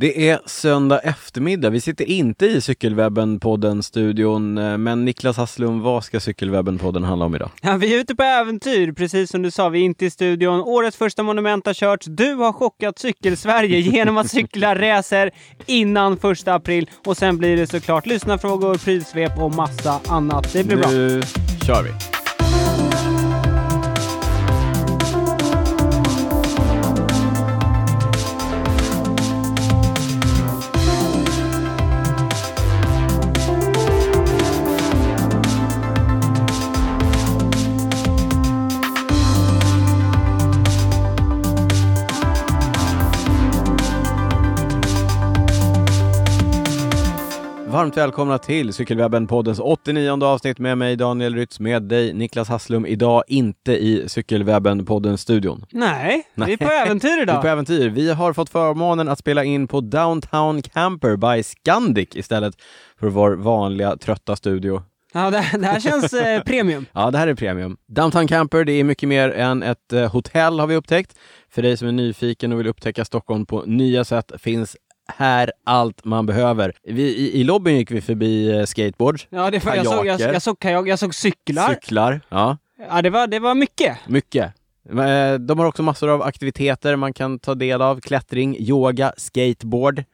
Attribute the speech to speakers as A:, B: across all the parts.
A: Det är söndag eftermiddag. Vi sitter inte i Cykelwebben-podden-studion, eh, men Niklas Hasslum, vad ska Cykelwebben-podden handla om idag?
B: Ja, vi är ute på äventyr, precis som du sa. Vi är inte i studion. Årets första monument har körts. Du har chockat Cykelsverige genom att cykla racer innan första april. Och sen blir det såklart lyssnarfrågor, prylsvep och massa annat. Det blir bra.
A: Nu kör vi! Varmt välkomna till Cykelwebben-poddens 89 avsnitt med mig Daniel Rytz, med dig Niklas Hasslum, idag inte i Cykelwebben-podden-studion.
B: Nej, vi är på äventyr
A: Vi är på
B: idag.
A: äventyr. Vi har fått förmånen att spela in på Downtown Camper by Scandic istället för vår vanliga trötta studio.
B: Ja, det, det här känns eh, premium.
A: Ja, det här är premium. Downtown Camper, det är mycket mer än ett eh, hotell har vi upptäckt. För dig som är nyfiken och vill upptäcka Stockholm på nya sätt finns här allt man behöver. Vi, i, I lobbyn gick vi förbi eh, skateboards,
B: Ja, det var, jag, såg, jag,
A: Kajaker.
B: jag såg kajak, jag såg cyklar.
A: cyklar, ja,
B: Ja, det var, det var mycket.
A: mycket. Eh, De har också massor av aktiviteter man kan ta del av. Klättring, yoga, skateboard.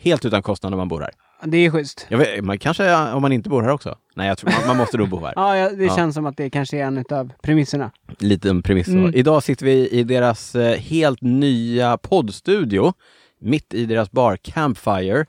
A: Helt utan kostnad när man bor här.
B: Det är schysst.
A: Jag vet, man kanske, om man inte bor här också? Nej, jag tror man, man måste nog bo här.
B: Ja, ja, det
A: Ja.
B: känns som att det kanske är en av premisserna.
A: Liten premiss då.
B: Mm.
A: Idag sitter vi i deras eh, helt nya poddstudio, mitt i deras bar Campfire.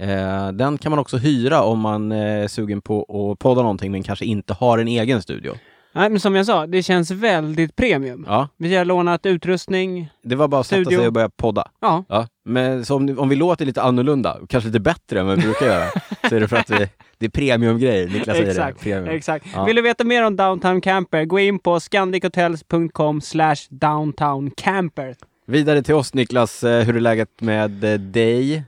A: Eh, den kan man också hyra om man eh, är sugen på att podda någonting men kanske inte har en egen studio.
B: Nej, men som jag sa, det känns väldigt premium.
A: Ja,
B: Vi har lånat utrustning.
A: det var bara att sätta
B: Studio.
A: sig och börja podda.
B: Ja,
A: Ja, men så om, ni- om vi låter lite annorlunda, kanske lite bättre än vad vi brukar göra, så är det för att vi, det är premiumgrejer. Niklas säger
B: exakt.
A: det. Premium.
B: exakt.
A: Ja.
B: Vill du veta mer om Downtown Camper? Gå in på scandichotels.com slash downtown camper.
A: Vidare till oss Niklas, eh, hur är läget med eh, dig?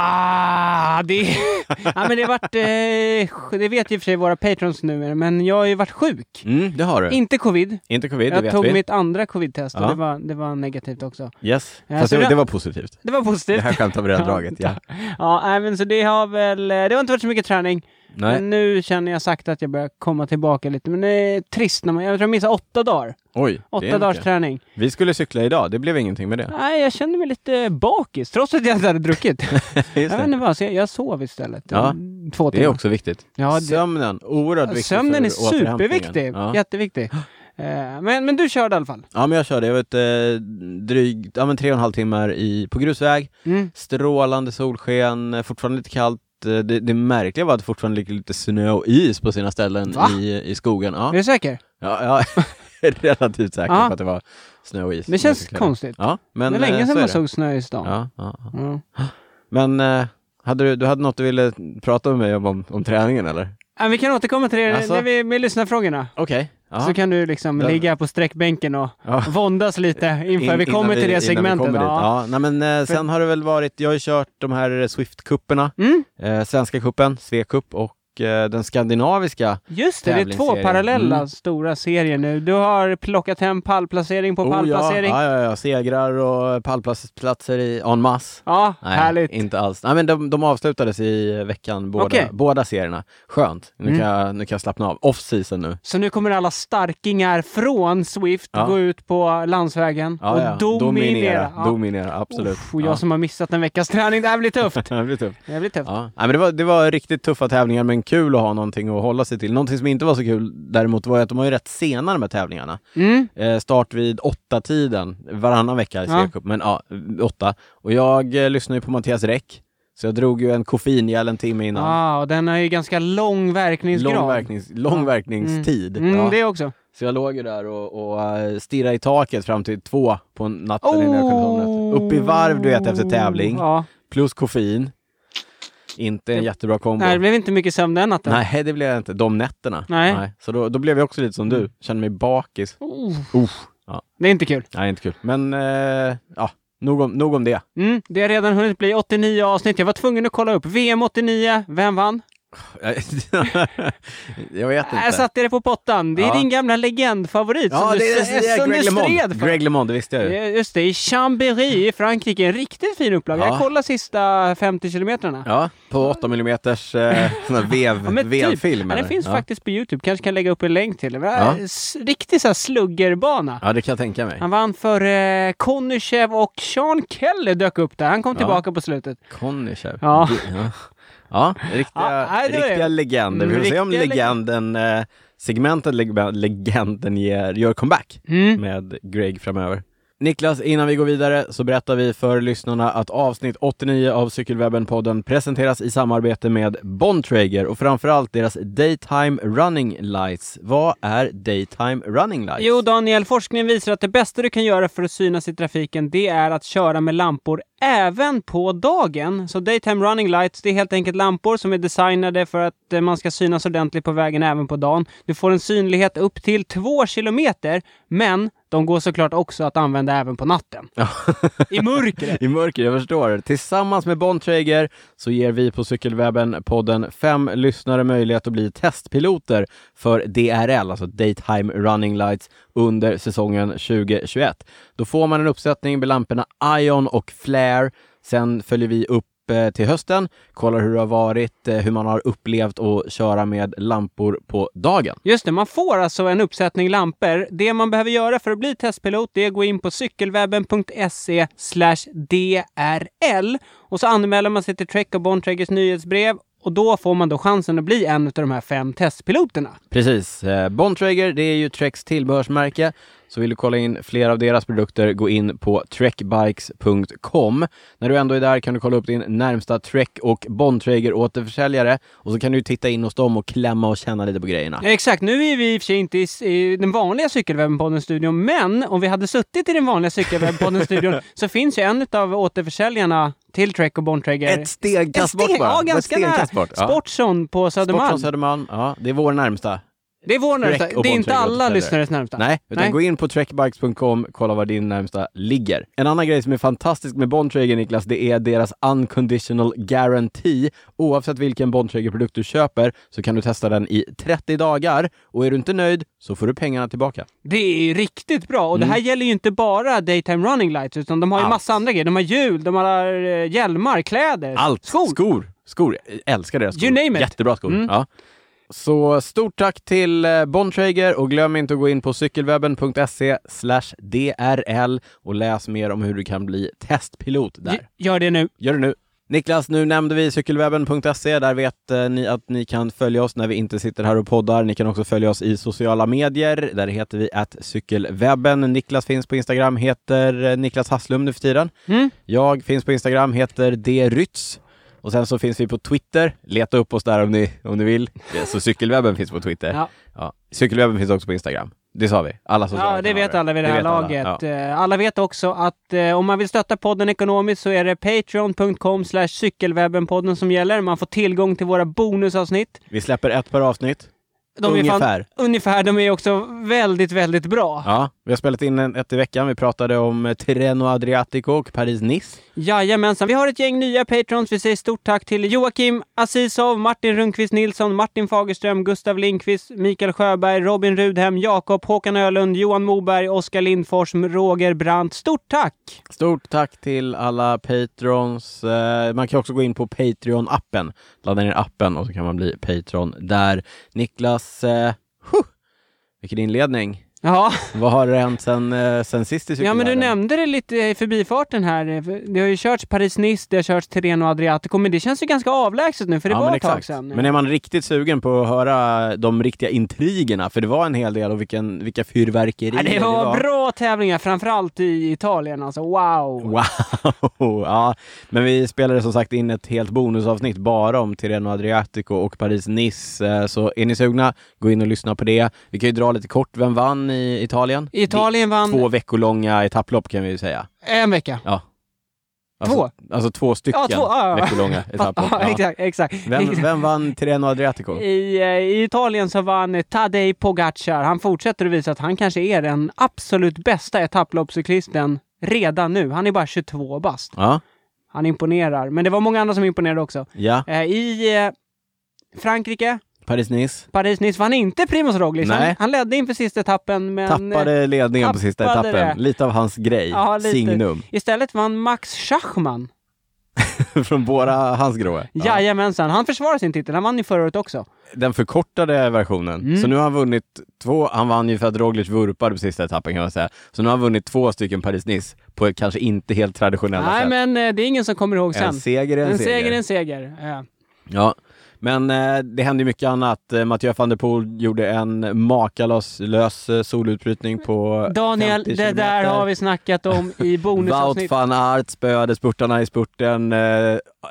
B: Ah, det... ja, men det har varit... Eh, sj- det vet ju för sig våra patrons nu, men jag har ju varit sjuk.
A: Mm, det har du.
B: Inte covid.
A: inte covid, det
B: Jag
A: vet
B: tog
A: vi.
B: mitt andra covid-test och
A: Ja.
B: det, var, det var negativt också.
A: Yes,
B: Ja,
A: fast
B: så
A: det,
B: det-
A: det var positivt.
B: Det var
A: Det
B: positivt.
A: här skämtet har vi redan
B: Ja,
A: dragit. Ja.
B: Ja, nej, men så det har väl... eh, Det har inte varit så mycket träning.
A: Nej.
B: Men nu känner jag sakta att jag börjar komma tillbaka lite. Men det är trist när man... Jag tror jag missade åtta dagar.
A: Oj, det
B: Åtta
A: är
B: dagars
A: mycket.
B: träning.
A: Vi skulle cykla idag, det blev ingenting med det.
B: Nej, jag kände mig lite bakis, trots att jag inte hade druckit. jag vet
A: det.
B: inte vad, så jag, jag sov istället.
A: Ja,
B: Mm, Två
A: Det är
B: timmar.
A: också viktigt.
B: Ja, det-
A: Sömnen, oerhört viktig
B: Sömnen
A: för
B: är
A: återhämtningen.
B: superviktig.
A: Ja.
B: Jätteviktig. Eh, Men, men du körde i alla fall.
A: ja, men jag körde. Jag var ute drygt, ja men tre och en halv timmar i, på grusväg.
B: Mm.
A: Strålande solsken, eh, fortfarande lite kallt. Eh, Det, det märkliga var att det fortfarande ligger lite snö och is på sina ställen
B: Va?
A: i, i skogen.
B: Är
A: Ja,
B: du säker?
A: ja, ja. jag är relativt säker
B: Ja.
A: på att det var snö och is.
B: Det känns
A: Jag cyklade.
B: konstigt.
A: Ja, men
B: det är
A: eh,
B: länge sedan
A: så är
B: man
A: det.
B: såg snö i stan.
A: Ja, ja, ja.
B: Mm.
A: Men eh, hade du, du hade något du ville prata med mig om, om, om träningen eller?
B: Ja, Vi kan återkomma till det
A: Alltså?
B: när vi, med lyssnarfrågorna.
A: Okej.
B: Så kan du liksom
A: Ja.
B: ligga på sträckbänken och
A: Ja.
B: våndas lite inför vi kommer till det segmentet. Ja.
A: Ja. nej, men, eh, sen har det väl varit, jag har ju kört de här Swift-cuperna,
B: Mm,
A: eh, Svenska cupen, Svea-cup och eh, den skandinaviska.
B: just det, det är två
A: Tävlingsserie.
B: parallella
A: Mm.
B: stora serier nu. Du har plockat hem pallplacering på pallplacering.
A: Oh, ja, ja, ja, ja, segrar och pallplatser i en masse.
B: Ja, härligt.
A: inte alls. Nej, men de, de avslutades i veckan, båda,
B: Okej.
A: båda serierna. Skönt, nu,
B: Mm.
A: kan jag, nu kan jag slappna av. Off-season nu.
B: Så nu kommer alla starkingar från Swift
A: Ja.
B: gå ut på landsvägen och
A: Ja, ja.
B: dominera. Ja.
A: Dominera, absolut.
B: Uff, och jag
A: ja.
B: som har missat en veckas träning, det här blir tufft.
A: Det blir tufft.
B: Det här blir tufft.
A: Ja. Nej, men det, var, det var riktigt tuffa tävlingar men kul att ha någonting att hålla sig till. Någonting som inte var så kul däremot var ju att de var ju rätt sena de här tävlingarna.
B: Mm.
A: Eh, start vid åtta tiden varannan vecka i
B: Ja.
A: Svea Cup, men ja, åtta. Och jag eh, lyssnade ju på Mattias Räck, så jag drog ju en koffeingel en timme innan.
B: Ah, och den har ju ganska lång verkningsgrad.
A: Lång, verknings, lång
B: Ja.
A: verkningstid.
B: Mm,
A: ja.
B: Det också.
A: Så jag låg ju där och, och eh, stirrade i taket fram till två på natten innan jag kunde somna.
B: Oh.
A: Upp i varv du vet efter tävling,
B: Ja.
A: plus koffein. Inte en jättebra kombo.
B: Nej, Oh. det blev inte mycket sömn den natten.
A: Nej, det blev jag inte. De nätterna.
B: Nej. Mm.
A: Så då, då blev jag också lite som du. Kände mig bakis.
B: Oh,
A: Uff. Ja.
B: det är inte kul.
A: Nej, inte kul. Men, eh, ja. Nog om, nog om det.
B: Mm, det har redan hunnit bli 89 avsnitt. Jag var tvungen att kolla upp. VM 89, vem vann?
A: jag vet inte.
B: Jag Äh, satte det på pottan. Det är
A: Ja.
B: din gamla legendfavorit
A: ja,
B: som,
A: det
B: du,
A: är, det är
B: som
A: Greg
B: du stred
A: LeMond.
B: för.
A: Greg LeMond, det visste jag ju.
B: Ja, Just det, i Chambéry i Frankrike. En riktigt fin upplaga.
A: Ja.
B: Jag kollade sista 50 kilometrarna.
A: Ja, på 8 mm eh, sån här vev,
B: Ja, men typ.
A: vevfilm.
B: Ja, den
A: eller?
B: finns
A: ja.
B: faktiskt på Youtube. Kanske kan lägga upp en länk till det.
A: Ja.
B: Ja. S- Riktig så här sluggerbana.
A: Ja, det kan jag tänka mig.
B: Han vann för eh, Konyshev och Sean Kelly dök upp där. Han kom
A: Ja.
B: tillbaka på slutet.
A: Konnishev.
B: Ja.
A: ja. Ja, riktiga,
B: Ja, nej, det var det.
A: riktiga legender. Vi får se om
B: Riktiga leg-
A: legenden, eh, segmentet leg- legenden ger, gör comeback
B: Mm.
A: med Greg framöver. Niklas, innan vi går vidare så berättar vi för lyssnarna att avsnitt 89 av Cykelwebben-podden presenteras i samarbete med Bontrager och framförallt deras Daytime Running Lights. Vad är Daytime Running Lights?
B: Jo, Daniel, forskningen visar att det bästa du kan göra för att synas i trafiken, det är att köra med lampor även på dagen. Så daytime running lights, det är helt enkelt lampor som är designade för att eh, man ska synas ordentligt på vägen även på dagen. Du får en synlighet upp till två kilometer, men de går såklart också att använda även på natten. I mörkret.
A: I mörker, jag förstår. Tillsammans med Bontrager så ger vi på Cykelwebben-podden fem lyssnare möjlighet att bli testpiloter för DRL, alltså Daytime Running Lights, under säsongen 2021. Då får man en uppsättning med lamporna Ion och Flare. Sen följer vi upp eh, till hösten, kollar hur det har varit, eh, hur man har upplevt att köra med lampor på dagen.
B: Just det, man får alltså en uppsättning lampor. Det man behöver göra för att bli testpilot det är att gå in på cykelwebben.se drl och så anmäler man sig till Trek och Bontraggers nyhetsbrev och då får man då chansen att bli en av de här fem testpiloterna.
A: Precis. Eh, Bontrager, det är ju Treks tillbehörsmärke. Så vill du kolla in fler av deras produkter, gå in på trekbikes.com. När du ändå är där kan du kolla upp din närmsta Trek och Bontrager återförsäljare och så kan du titta in hos dem och klämma och känna lite på grejerna.
B: Ja, Exakt, nu är vi i och för sig inte i, s- i den vanliga Cykelwebben-podden-studion, men om vi hade suttit i den vanliga Cykelwebben-podden-studion så finns ju en av återförsäljarna till Trek och Bontragger.
A: Ett stenkast bort bara.
B: Ja,
A: Ett
B: ganska nära.
A: stenkast bort. Ja.
B: Sportson på
A: Sport från
B: Södermalm.
A: Södermalm. Ja, det är vår närmsta.
B: Det är vår
A: Trek
B: närmsta.
A: och
B: Det är inte
A: Bontrager
B: alla
A: återförsäljare.
B: lyssnares närmsta.
A: Nej, utan
B: Nej.
A: gå in på trekbikes.com, kolla var din närmsta ligger. En annan grej som är fantastisk med Bontrager, Niklas, det är deras unconditional guarantee. Oavsett vilken Bontrager-produkt du köper så kan du testa den i 30 dagar och är du inte nöjd så får du pengarna tillbaka.
B: Det är ju riktigt bra. Och det här gäller ju inte bara daytime running lights, utan de har ju
A: Mm. Allt.
B: massa andra grejer. De har hjul, de har eh, hjälmar, kläder,
A: Allt!
B: skor.
A: Skor! skor. Jag Älskar deras skor.
B: You name it. Mm.
A: Jättebra skor. Ja. Så stort tack till eh, Bontrager och glöm inte att gå in på cykelwebben.se drl och läs mer om hur du kan bli testpilot där. Eh,
B: G- Gör det nu.
A: Gör det nu. Niklas, nu nämnde vi cykelwebben.se. Där vet eh, ni att ni kan följa oss när vi inte sitter här och poddar. Ni kan också följa oss i sociala medier. Där heter vi att cykelwebben. Niklas finns på Instagram, heter eh, Niklas Hasslum nu för tiden.
B: Mm.
A: Jag finns på Instagram, heter drytz. Och sen så finns vi på Twitter. Leta upp oss där om ni, om ni vill. Ja, Så cykelwebben finns på Twitter.
B: Ja.
A: Ja. Cykelwebben finns också på Instagram. Det sa vi. Alla sociala
B: Ja, det vet
A: kanaler.
B: alla vid det här
A: vet alla.
B: laget.
A: Ja.
B: Eh, Alla vet också att eh, om man vill stötta podden ekonomiskt så är det patreon.com slash cykelwebbenpodden som gäller. Man får tillgång till våra bonusavsnitt.
A: Vi släpper ett par avsnitt.
B: De är fan-
A: Ungefär.
B: ungefär. De är också väldigt, väldigt bra.
A: Ja, vi har spelat in en, ett i veckan. Vi pratade om eh, Tirreno Adriatico och Paris-Nice.
B: Jajamensan, vi har ett gäng nya patrons. Vi säger stort tack till Joakim Asisov, Martin Rundqvist Nilsson, Martin Fagerström, Gustav Lindqvist, Mikael Sjöberg, Robin Rudhem, Jakob, Håkan Ölund, Johan Moberg, Oskar Lindfors, Roger Brandt. Stort tack!
A: Stort tack till alla patrons. Eh, Man kan också gå in på Patreon-appen. Ladda ner appen och så kan man bli patron där. Niklas, eh, huh, vilken inledning.
B: Ja,
A: Vad har hänt sen, eh, sen sist i
B: ja men du
A: cykelvärlden?
B: nämnde det lite i förbifarten här. Det har ju körts Paris-Nice, det har körts Tirreno Adriatico, men det känns ju ganska avlägset nu, för det
A: Ja,
B: var
A: men
B: ett tag
A: exakt.
B: sedan.
A: Men är man riktigt sugen på att höra de riktiga intrigerna? För det var en hel del och vilken, vilka fyrverkerier
B: ja, det var bra tävlingar, framförallt i Italien alltså. Wow!
A: Wow! Ja, men vi spelade som sagt in ett helt bonusavsnitt bara om Tirreno Adriatico och Paris-Nice. Eh, Så är ni sugna, gå in och lyssna på det. Vi kan ju dra lite kort, vem vann i Italien?
B: Italien
A: Det-
B: vann
A: Två veckolånga etapplopp kan vi ju säga.
B: en vecka.
A: Ja. Alltså,
B: Två?
A: Alltså två stycken
B: Ja, två, ja, ja.
A: veckolånga etapplopp.
B: Ja,
A: Ja.
B: exakt, exakt.
A: Vem,
B: Exakt.
A: vem vann Tirreno Adriatico?
B: I, eh, I Italien så vann eh, Tadej Pogacar. Han fortsätter att visa att han kanske är den absolut bästa etapploppscyklisten redan nu. Han är bara 22 bast.
A: Ja,
B: Han imponerar. Men det var många andra som imponerade också.
A: ja.
B: Eh, I eh, Frankrike,
A: Paris-Nice.
B: Paris-Nice vann inte Primoz Roglic. Han,
A: Nej.
B: han ledde inför sista etappen, men... eh,
A: Tappade ledningen på sista
B: tappade
A: etappen.
B: det.
A: Lite av hans grej.
B: ja, lite.
A: Signum.
B: Istället vann Max Schachmann.
A: Från våra hans gråa.
B: Jajamensan, han försvarar sin titel. Han vann ju förra året också.
A: Den förkortade versionen.
B: Mm.
A: Så nu har han vunnit två. Han vann ju för att Roglic vurpade på sista etappen kan man säga. Så nu har han vunnit två stycken Paris-Nice på ett kanske inte helt traditionella
B: Nej,
A: sätt.
B: men eh, det är ingen som kommer ihåg sen.
A: En seger är en,
B: en
A: seger.
B: seger, är en seger. Eh,
A: Ja. Men eh, det hände ju mycket annat. Eh, Mathieu van der Poel gjorde en makalös eh, solutbrytning på
B: Daniel,
A: 50
B: det där
A: kilometer.
B: har vi snackat om i
A: Wout
B: bonusavsnitt.
A: van Aert spöade spurtarna i spurten, eh,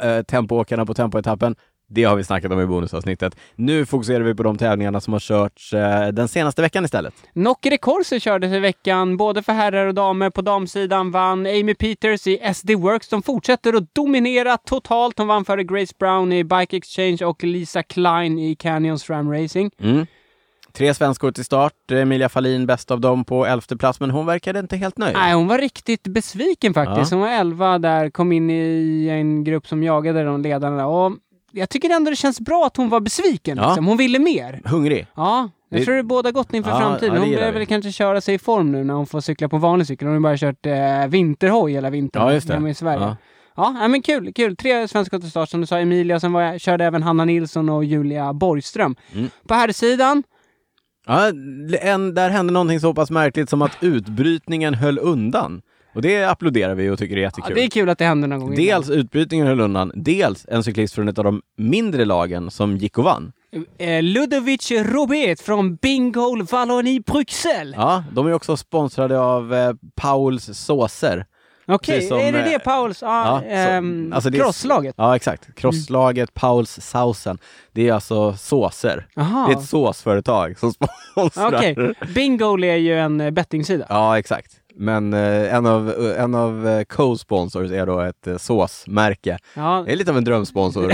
A: eh, tempoåkarna på tempoetappen. Det har vi snackat om i bonusavsnittet. Nu fokuserar vi på de tävlingarna som har körts eh, den senaste veckan istället.
B: Nokkere Corsi kördes i veckan, både för herrar och damer. På damsidan vann Amy Peters i SD Works. De fortsätter att dominera totalt. Hon vann före Grace Brown i Bike Exchange och Lisa Klein i Canyons Ram Racing.
A: Tre svenskor till start. Emilia Fahlin bäst av dem på elfte plats, men hon verkade inte helt nöjd.
B: Nej, hon var riktigt besviken faktiskt. Hon var 11 där, kom in i en grupp som jagade de ledarna. Och jag tycker ändå det känns bra att hon var besviken.
A: Ja.
B: Liksom. Hon ville mer.
A: Hungrig.
B: Ja, jag
A: Det-
B: tror det båda gott inför
A: Ja, ja,
B: framtiden.
A: det
B: Hon
A: gillar
B: behöver
A: vi.
B: väl kanske köra sig i form nu när hon får cykla på vanlig cykel. Hon har ju bara kört eh, vinterhoj hela vintern
A: Ja, just det.
B: hemma i Sverige. Ja.
A: Ja.
B: nej, men kul, kul. Tre svenskar till start som du sa, Emilia, sen var jag, körde även Hanna Nilsson och Julia Borgström.
A: Mm.
B: På här sidan
A: Ja, en, där hände någonting så pass märkligt som att utbrytningen höll undan. Och det applåderar vi och tycker är
B: ja,
A: jättekul.
B: det är kul att det händer någon gång. innan.
A: Dels utbrytningen höll undan, dels en cyklist från ett av de mindre lagen som gick och vann.
B: Eh, Ludovic Robet från Bingol Wallonie Bruxelles.
A: Ja, de är också sponsrade av eh, Pauls såser.
B: Okej,
A: precis som,
B: är det
A: eh,
B: det Pauls? Ah,
A: Ja, så-
B: ehm,
A: alltså det är-
B: crosslaget?
A: Ja, exakt. Crosslaget Pauls sausen. Det är alltså såser.
B: Aha.
A: Det är ett såsföretag som sponsrar.
B: Okej, Bingol är ju en eh, bettingsida.
A: Ja, exakt. Men eh, en av, en av eh, co-sponsors är då ett eh, såsmärke.
B: Ja.
A: Det är lite av en drömsponsor.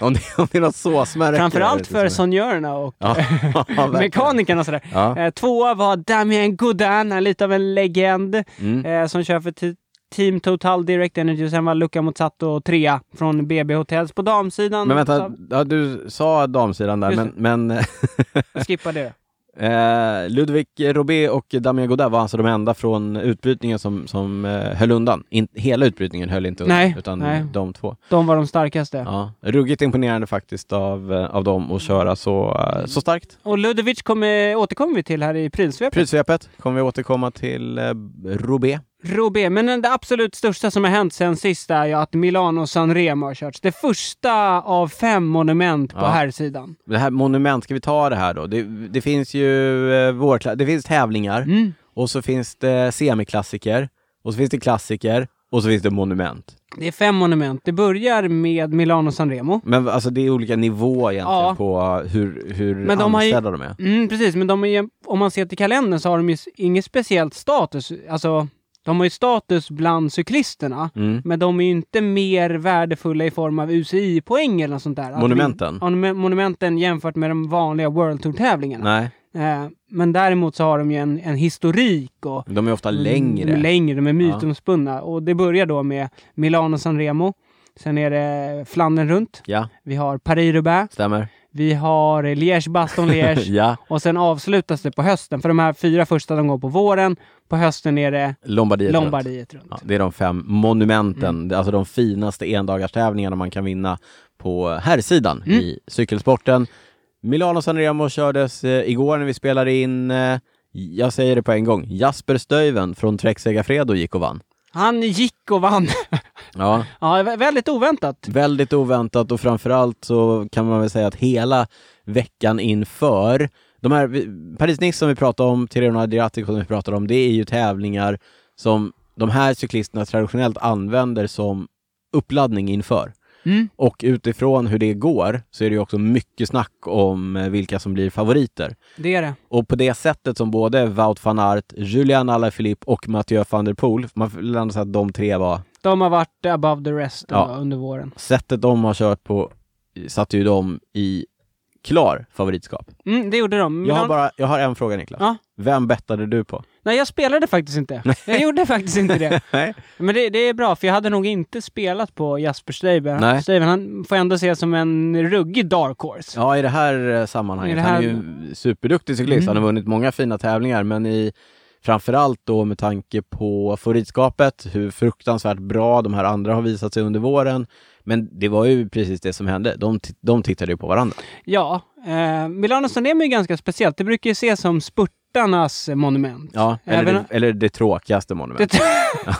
A: om, det, om det är något såsmärke.
B: Framförallt för
A: sådana.
B: sonjörerna och
A: Ja, liksom ja, verkligen.
B: mekanikerna och sådär.
A: Ja.
B: Eh, tvåa var Damien Godin, han är lite av en legend
A: Mm.
B: eh, som kör för ti- Team Total Direct Energy. Sen var Luca Mozzato trea från BB Hotels på damsidan.
A: Men vänta, ja, du sa damsidan där,
B: Just
A: men, men
B: Så- Skippa det.
A: Eh, Ludvig Robé och Damien Godin var alltså de enda från utbrytningen som, som eh, höll undan. In, hela utbrytningen höll inte undan,
B: Nej,
A: utan
B: nej.
A: de två.
B: De var de starkaste.
A: Ja. Ruggigt imponerande faktiskt av, eh, av dem att köra så, eh, så starkt.
B: Och Ludovic kommer, återkommer vi till här i prylsvepet.
A: Prylsvepet kommer vi återkomma till eh, Robé.
B: Robé, men det absolut största som har hänt sen sist är ju att Milano San Remo har körts. Det första av fem monument på
A: Ja.
B: herrsidan.
A: Det här monument, ska vi ta det här då? Det, det finns ju eh, vårkla- det finns tävlingar
B: Mm.
A: och så finns det semiklassiker och så finns det klassiker och så finns det monument.
B: Det är fem monument. Det börjar med Milano San Remo.
A: Men alltså det är olika nivåer egentligen
B: Ja.
A: på hur, hur
B: Men de har ju-
A: anställda de är.
B: Mm, precis, men de är, ju- om man ser till kalendern så har de ju s- ingen speciellt status. Alltså, de har ju status bland cyklisterna,
A: Mm.
B: men de är ju inte mer värdefulla i form av UCI-poäng eller något sånt där. Att
A: Monumenten?
B: vi- ja, men- monumenten jämfört med de vanliga World Tour-tävlingarna.
A: Nej,
B: Eh, men däremot så har de ju en, en historik och
A: de är ofta längre.
B: Mm, längre, de är mytomspunna. Och det börjar då med Milano San Remo. Sen är det Flandern runt.
A: Ja,
B: Vi har Paris-Roubaix.
A: stämmer.
B: Vi har Liège-Baston-Liège.
A: Ja,
B: Och sen avslutas det på hösten. För de här fyra första de går på våren. På hösten är det
A: Lombardiet. runt.
B: Lombardiet runt.
A: Ja, det är de fem monumenten, Det är alltså de finaste endagarstävlingarna man kan vinna på herrsidan i cykelsporten. Milano Sanremo kördes eh, igår när vi spelade in, eh, jag säger det på en gång, Jasper Stuyven från Trek Segafredo gick och vann.
B: Han gick och vann.
A: Ja,
B: ja, vä- väldigt oväntat.
A: Väldigt oväntat och framförallt så kan man väl säga att hela veckan inför de här vi- Paris-Nice som vi pratade om, Tirreno Adriatico som vi pratade om, det är ju tävlingar som de här cyklisterna traditionellt använder som uppladdning inför.
B: Mm.
A: Och utifrån hur det går så är det ju också mycket snack om eh, vilka som blir favoriter.
B: Det är det.
A: Och på det sättet som både Wout van Aert, Julian Alaphilippe och Mathieu van der Poel, man får väl ändå säga att de tre var
B: De har varit above the rest
A: Ja.
B: då, under våren.
A: sättet de har kört på satte ju dem i klar favoritskap.
B: Mm, det gjorde de.
A: Jag har,
B: Milano-
A: bara, jag har en fråga Niklas.
B: Ja.
A: Vem bettade du på?
B: Nej, jag spelade faktiskt inte. Jag gjorde faktiskt inte det.
A: Nej.
B: Men det, det är bra, för jag hade nog inte spelat på Jasper Steiber.
A: Nej.
B: Han- Steiber, han får ändå ses som en ruggig dark horse.
A: Ja, i det här eh, sammanhanget.
B: I det
A: Han är
B: här- Mm.
A: ju superduktig cyklist. Han har vunnit många fina tävlingar, men i framförallt då med tanke på favoritskapet, hur fruktansvärt bra de här andra har visat sig under våren. Men det var ju precis det som hände. De, ti- de tittade ju på varandra.
B: Ja, eh, Milano Sanremo är ju ganska speciellt. Det brukar ju ses som spurtarnas monument.
A: Ja, eller,
B: Även-
A: det, eller det tråkigaste monumentet.
B: Det-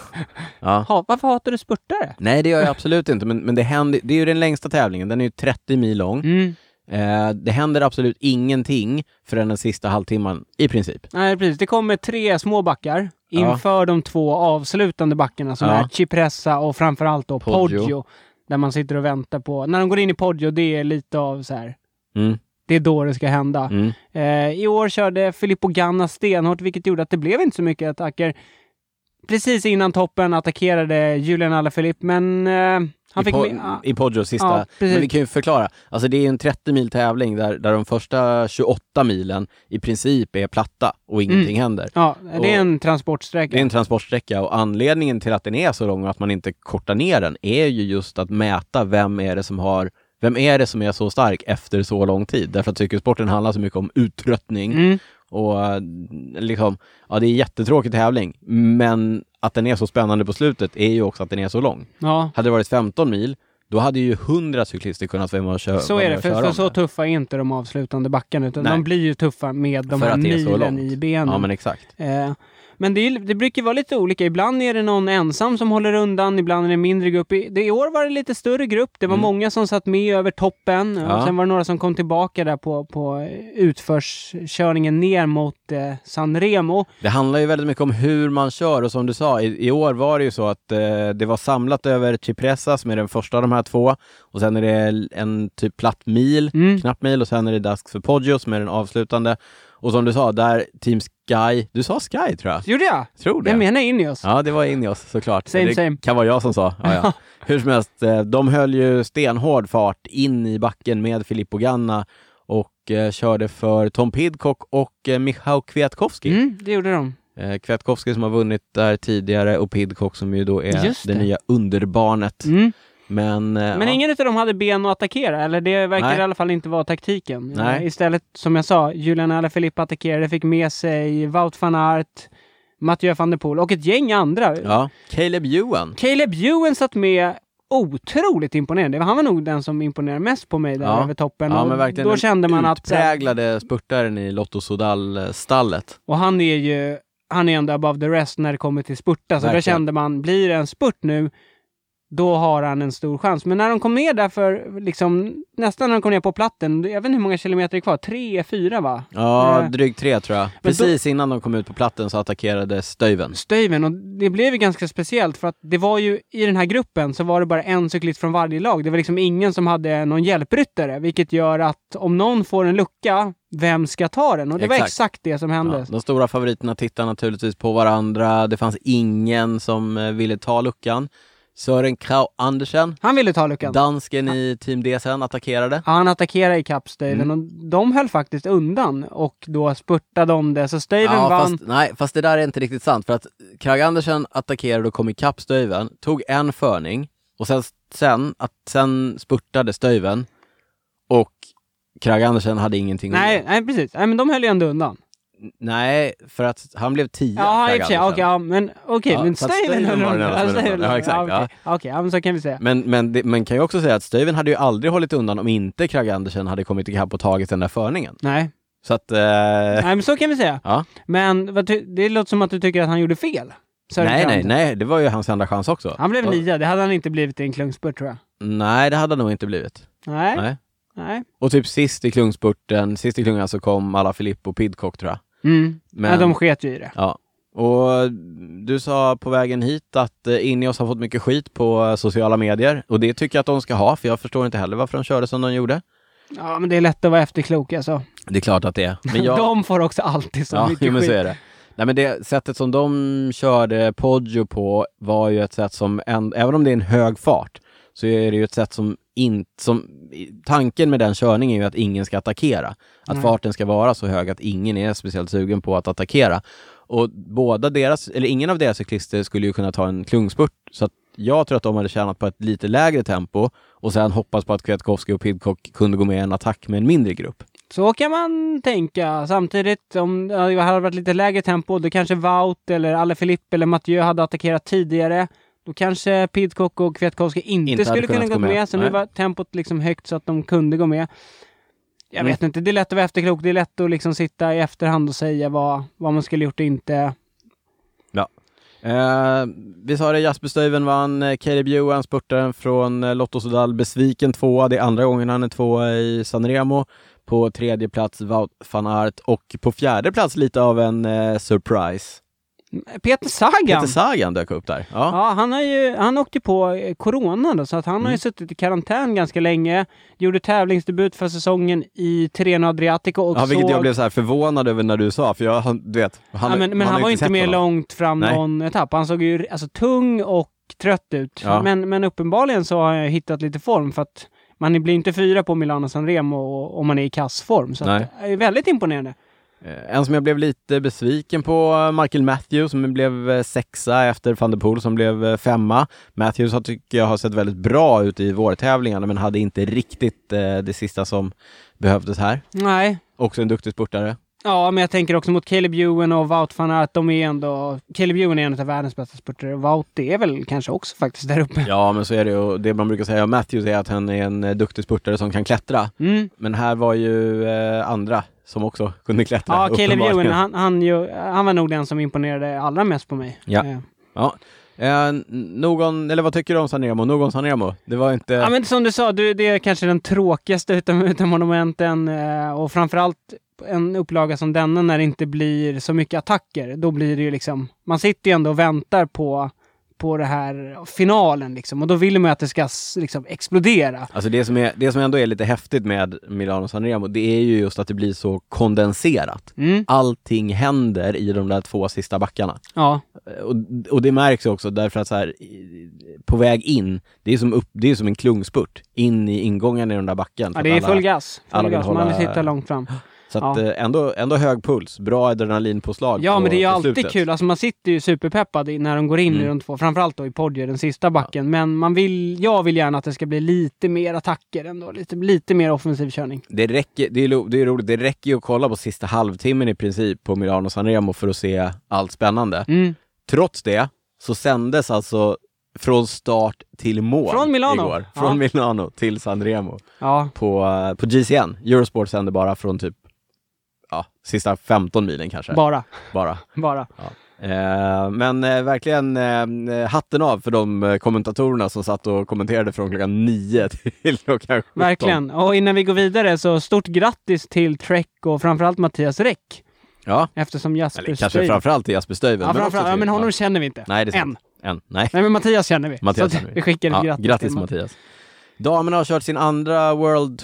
A: Ja.
B: ha, varför hatar du spurtare?
A: Nej, det gör jag absolut inte, men, men det, händer, det är ju den längsta tävlingen. Den är ju 30 mil lång.
B: Mm.
A: Eh, det händer absolut ingenting förrän den sista halvtimman, i princip.
B: Nej, precis. Det kommer tre små backar inför de två avslutande backarna som
A: Ja.
B: är Cipressa och framförallt då
A: Poggio.
B: Poggio. Där man sitter och väntar på... När de går in i Poggio, det är lite av så här...
A: Mm,
B: Det är då det ska hända.
A: mm.
B: Eh, I år körde Filippo Ganna stenhårt, vilket gjorde att det blev inte så mycket attacker. Precis innan toppen attackerade Julian Alaphilippe, men eh, han
A: I,
B: fick...
A: po-
B: med, ah,
A: I Poggio sista.
B: Ja, precis.
A: men vi kan ju förklara. Alltså det är en 30 mil tävling där, där de första 28 milen i princip är platta och
B: Mm.
A: ingenting händer.
B: ja,
A: och-
B: det är en
A: Det är
B: transportsträcka.
A: en transportsträcka och anledningen till att den är så lång och att man inte kortar ner den är ju just att mäta vem är det som har vem är det som är så stark efter så lång tid? Därför att cykelsporten handlar så mycket om uttröttning
B: Mm.
A: och eh, liksom, ja det är en jättetråkig tävling, men att den är så spännande på slutet är ju också att den är så lång.
B: Ja,
A: Hade det varit 15 mil, då hade ju 100 cyklister kunnat vara med och köra.
B: så är det.
A: vara med och köra
B: För, för
A: om
B: så
A: det.
B: tuffa är inte de avslutande backarna, utan
A: Nej.
B: de blir ju tuffa med de
A: För
B: här
A: att det är så
B: milen
A: långt.
B: i benen.
A: Ja, men exakt.
B: Eh, men det, är, ju- det brukar vara lite olika. Ibland är det någon ensam som håller undan, ibland är det en mindre grupp. I, det, I år var det lite större grupp. Det var många som satt med över toppen.
A: Mm. Ja.
B: Och sen var det några som kom tillbaka där på, på eh, utförskörningen ner mot eh, San Remo.
A: Det handlar ju väldigt mycket om hur man kör och som du sa, i, i år var det ju så att eh, det var samlat över Cipressa som är den första av de här två och sen är det en typ platt mil,
B: Mm.
A: knapp mil och sen är det dags för Poggio som är den avslutande. Och som du sa, där Team Sky, du sa Sky tror jag,
B: Gjorde jag?
A: tror det.
B: Jag menar in i oss.
A: Ja, det var in i oss såklart.
B: Same,
A: det
B: same.
A: kan vara jag som sa. Ja, ja. Hur som helst, eh, de höll ju stenhård fart in i backen med Filippo Ganna och eh, körde för Tom Pidcock och eh, Michał Kwiatkowski.
B: Mm, det gjorde de.
A: Eh, Kwiatkowski som har vunnit där tidigare och Pidcock som ju då är
B: Just
A: det.
B: det.
A: nya underbarnet.
B: Mm.
A: Men, eh,
B: Men
A: ja.
B: ingen av dem hade ben att attackera, eller det verkar
A: Nej.
B: i alla fall inte vara taktiken.
A: Nej.
B: Eh, Istället, som jag sa, Julian Alaphilippe attackerade, fick med sig Wout van Aert, Mathieu van der Poel och ett gäng andra.
A: Ja. Caleb Ewan.
B: Caleb Ewan satt med otroligt imponerande. Han var nog den som imponerade mest på mig där
A: Ja.
B: över toppen.
A: Ja,
B: Och
A: men verkligen
B: då kände man att... eh,
A: Utpräglade spurtaren i Lotto Sodal-stallet.
B: Och han är ju... Han är ändå above the rest när det kommer till spurta. Så då
A: Verkligen.
B: kände man, blir det en spurt nu, då har han en stor chans. Men när de kom ner där för, liksom, nästan när de kom ner på platten, jag vet inte hur många kilometer det är kvar, tre, fyra va?
A: Ja,
B: Eh.
A: drygt tre tror jag.
B: då-
A: Precis innan de kom ut på platten så attackerade Stuyven.
B: Stuyven och det blev ju ganska speciellt för att det var ju i den här gruppen så var det bara en cyklist från varje lag. Det var liksom ingen som hade någon hjälpryttare, vilket gör att om någon får en lucka, vem ska ta den? Och det var
A: Exakt.
B: exakt det som hände.
A: Ja, de stora favoriterna tittar naturligtvis på varandra. Det fanns ingen som eh, ville ta luckan. Sören Krau Andersen,
B: Han ville ta luckan.
A: dansken i Team DSN, attackerade.
B: Ja, Han attackerade i kapp Stuyven
A: Mm.
B: och de höll faktiskt undan och då spurtade de det. Så Stuyven
A: Ja,
B: vann.
A: fast, nej, fast det där är inte riktigt sant. För att Krag Andersen attackerade och kom ikapp Stuyven, tog en förning och sen, sen, att, sen spurtade Stuyven och Krag Andersen hade ingenting att
B: Nej,
A: ge.
B: nej, precis. Nej, men de höll ju ändå undan.
A: nej, för att han blev tio,
B: Ja, i och
A: Krag
B: för sig.
A: Andersen.
B: Okej, ja, men okej.
A: Ja,
B: men
A: fast
B: Stuyven
A: Stuyven var
B: höll
A: den
B: undan.
A: enda som höll
B: Stuyven-
A: undan. Ja, exakt,
B: okej. Okej, ja, men så kan vi säga.
A: Men, men det, man kan ju också säga att Stuyven hade ju aldrig hållit undan om inte Krag Andersen hade kommit ikapp och tagit den där förningen.
B: Nej,
A: Så att... Eh,
B: nej, men så kan vi säga.
A: Ja.
B: Men vad ty- det låter som att du tycker att han gjorde fel. Sören
A: nej, nej,
B: Krantz.
A: nej, det var ju hans enda chans också.
B: Han blev
A: Och-
B: nia. Det hade han inte blivit i en klungspurt tror jag.
A: Nej, det hade han nog inte blivit.
B: Nej.
A: Nej.
B: Nej.
A: Och typ sist i klungspurten, sist i klungan så kom alla Filippo och Pidcock tror jag.
B: Mm.
A: Men,
B: Nej, de sket ju i det.
A: ja. Och du sa på vägen hit att eh, Ineos har fått mycket skit på eh, sociala medier och det tycker jag att de ska ha för jag förstår inte heller varför de körde som de gjorde.
B: Ja, men det är lätt att vara efterklok alltså.
A: Det är klart att det är. Men jag,
B: De får också alltid så
A: ja,
B: liksom. mycket
A: men
B: skit.
A: så är det. Nej, men det sättet som de körde Poggio på var ju ett sätt som, en, även om det är en hög fart, så är det ju ett sätt som inte, som, i- tanken med den körningen är ju att ingen ska attackera. Att
B: Nej.
A: farten ska vara så hög att ingen är speciellt sugen på att attackera. Och båda deras, eller ingen av deras cyklister skulle ju kunna ta en klungspurt. Så att jag tror att de hade tjänat på ett lite lägre tempo och sen hoppas på att Kwiatkowski och Pidcock kunde gå med i en attack med en mindre grupp.
B: Så kan man tänka. Samtidigt, om det hade varit lite lägre tempo, då kanske Wout eller Alaphilippe eller Mathieu hade attackerat tidigare. Då kanske Pidcock och Kwiatkowski inte,
A: Inte hade
B: skulle kunna
A: kunnat
B: gå
A: gå
B: med.
A: med.
B: Så nu
A: Nej.
B: var tempot liksom högt så att de kunde gå med. Jag
A: Mm.
B: vet inte, det är lätt att vara efterklok. Det är lätt att liksom sitta i efterhand och säga vad, vad man skulle gjort och inte.
A: Eh, vi sa det, Jasper Stuyven vann, eh, Caleb Ewan, spurtaren från eh, Lotto Sodal, besviken tvåa. Det är andra gången han är tvåa i Sanremo. På tredje plats Wout van Aert och på fjärde plats lite av en eh, surprise.
B: Peter Sagan!
A: Peter Sagan dök upp där. Ja.
B: Ja, han, har ju, han åkte ju på eh, corona då, så att han har ju
A: Mm.
B: suttit i karantän ganska länge. Gjorde tävlingsdebut för säsongen i Tirreno Adriatico och
A: Ja, vilket
B: såg...
A: jag blev så här förvånad över när du sa, för jag, han, du vet, han,
B: ja, men,
A: man
B: men
A: har
B: han
A: ju
B: var ju inte
A: sett
B: med
A: honom.
B: långt fram
A: Nej.
B: någon etapp. Han såg ju alltså, tung och trött ut.
A: Ja.
B: Men, men uppenbarligen så har jag hittat lite form för att man blir inte fyra på Milano Sanremo och- om man är i kassform. Så att,
A: Nej.
B: det är väldigt imponerande.
A: Eh, En som jag blev lite besviken på, eh, Michael Matthews, som blev eh, sexa efter van der Poel som blev eh, femma. Matthews har, tycker jag har sett väldigt bra ut i vårtävlingarna, men hade inte riktigt eh, det sista som behövdes här.
B: Nej.
A: Också en duktig spurtare.
B: Ja, men jag tänker också mot Caleb Ewan och Wout van Aert. De är ändå... Caleb Ewan är en av världens bästa spurtare. Wout är väl kanske också faktiskt där uppe.
A: Ja, men så är det ju. Det man brukar säga om Matthews är att han är en eh, duktig spurtare som kan klättra.
B: Mm.
A: Men här var ju eh, andra som också kunde klättra.
B: Ja, Caleb
A: uppenbarligen.
B: Ewan, han, han, ju, han var nog den som imponerade allra mest på mig.
A: Ja.
B: Eh.
A: Ja. Eh, någon, eller vad tycker du om Sanremo? Någon Sanremo? Det var inte...
B: Ja, men som du sa, du, det är kanske den tråkigaste utan, utan monumenten eh, och framförallt en upplaga som denna när det inte blir så mycket attacker. Då blir det ju liksom, man sitter ju ändå och väntar på, på det här finalen liksom och då vill man ju att det ska s- liksom explodera.
A: Alltså det som, är, det som ändå är lite häftigt med Milano Sanremo, det är ju just att det blir så kondenserat.
B: Mm.
A: Allting händer i de där två sista backarna.
B: Ja,
A: Eh, Och, och det märks också därför att så här, i- på väg in, det är som, upp, det är som en klungspurt in i ingången i den där backen. Så
B: ja det är
A: att Typ alla-
B: full gas. Full
A: alla vill
B: gas. Man
A: hålla-
B: sitter långt fram.
A: Så att, eh, ändå, ändå hög puls, bra adrenalinpåslag
B: Ja,
A: på,
B: men det är ju
A: på
B: alltid
A: slutet.
B: kul. Alltså man sitter ju superpeppad i- när de går in i
A: Mm.
B: de två. Framförallt då i Podger, den sista backen. Men man vill, jag vill gärna att det ska bli lite mer attacker ändå. Lite, lite mer offensiv körning.
A: Det, räcker, det, är, lo- det är roligt, det räcker ju att kolla på sista halvtimmen i princip på Milano Sanremo för att se allt spännande.
B: Mm.
A: Trots det så sändes alltså från start till mål
B: Från Milano.
A: igår.
B: Ja.
A: Från Milano till Sanremo
B: Ja,
A: på, eh, på GCN. Eurosport sände bara från typ ja, sista 15 milen kanske.
B: bara.
A: bara.
B: Bara.
A: Eh, men eh, verkligen eh, hatten av för de eh, kommentatorerna som satt och kommenterade från klockan 9 till klockan 17.
B: Verkligen. Och innan vi går vidare så stort grattis till Trek och framförallt Mattias Räck.
A: Ja,
B: Eftersom Jasper
A: eller kanske
B: Stuyven-
A: framförallt till Jasper Stuyven.
B: Ja,
A: men
B: framförallt.
A: också
B: Ja,
A: till-
B: men honom
A: ja.
B: känner vi inte.
A: Nej, det är
B: Än.
A: sant. Än. Nej.
B: Nej, men Mattias känner vi.
A: Mattias
B: så att
A: känner vi.
B: vi skickar ett
A: Ja,
B: grattis,
A: grattis
B: till Mattias.
A: Mattias. Damerna har kört sin andra World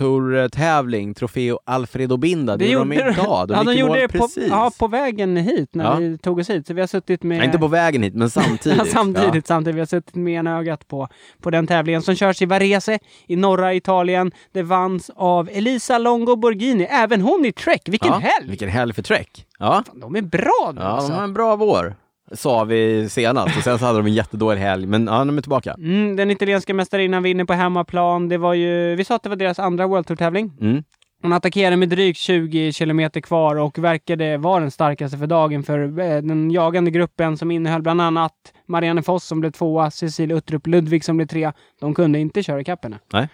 A: Tour-tävling, Trofeo Alfredo Binda. Det, gjorde de idag. De
B: ja,
A: gick
B: de
A: i
B: gjorde
A: mål
B: det på,
A: precis.
B: ja, på vägen hit, när
A: Ja.
B: vi tog oss hit. Så vi har suttit med...
A: Nej, inte på vägen hit, men samtidigt.
B: Ja, samtidigt, samtidigt. Vi har suttit med en ögat på, på den tävlingen som körs i Varese i norra Italien. Det vanns av Elisa Longo Borghini, även hon i Trek. Vilken
A: Ja.
B: helg!
A: Vilken helg för Trek. Ja,
B: Fan, De är bra nu
A: ja de har
B: alltså.
A: en bra vår, sa vi senast. Och sen så hade de en jättedålig helg, men ja, de är tillbaka.
B: Mm, den italienska mästarinnan vinner på hemmaplan. Det var ju, vi sa att det var deras andra World Tour-tävling.
A: Mm.
B: Hon attackerade med drygt 20 kilometer kvar och verkade vara den starkaste för dagen för eh, den jagande gruppen som innehöll bland annat Marianne Foss som blev tvåa, Cecil Uttrup Ludvig som blev trea. De kunde inte köra ikapp henne.
A: Nej.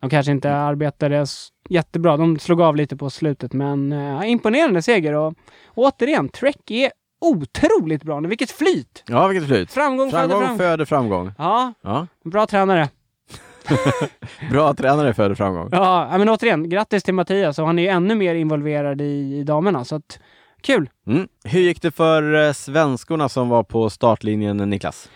B: De kanske inte arbetade s- jättebra. De slog av lite på slutet, men eh, imponerande seger. Och, återigen, Trek är otroligt bra nu. Vilket flyt!
A: Ja, vilket slut.
B: Framgång, framgång,
A: Framgång
B: framgång.
A: föder framgång.
B: Ja,
A: Ja.
B: bra tränare.
A: Bra tränare föder framgång.
B: Ja, ja, men återigen, grattis till Mattias och han är ju ännu mer involverad i, i damerna. Så att, kul!
A: Mm. Hur gick det för eh, svenskorna som var på startlinjen, Niklas?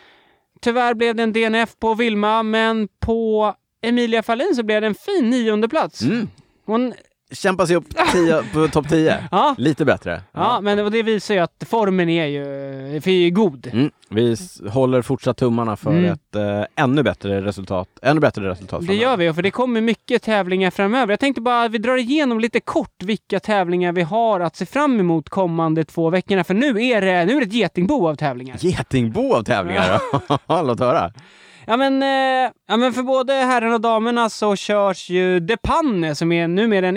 B: Tyvärr blev det en DNF på Vilma, men på Emilia Fahlin så blev det en fin nionde plats.
A: Mm.
B: Hon
A: kämpa sig upp tio, på topp 10.
B: Ja.
A: Lite bättre.
B: Ja, men och det visar ju att formen är ju, är ju god.
A: Mm. Vi s- håller fortsatt tummarna för
B: Mm.
A: ett eh, ännu bättre resultat. Ännu bättre resultat
B: Det
A: framöver.
B: gör vi, för det kommer mycket tävlingar framöver. Jag tänkte bara att vi drar igenom lite kort vilka tävlingar vi har att se fram emot kommande två veckorna. För nu är det, nu är det ett getingbo av tävlingar.
A: Getingbo av tävlingar! Ja. Låt höra.
B: Ja men, eh, ja men för både herrarna och damerna så körs ju De Panne som är numera en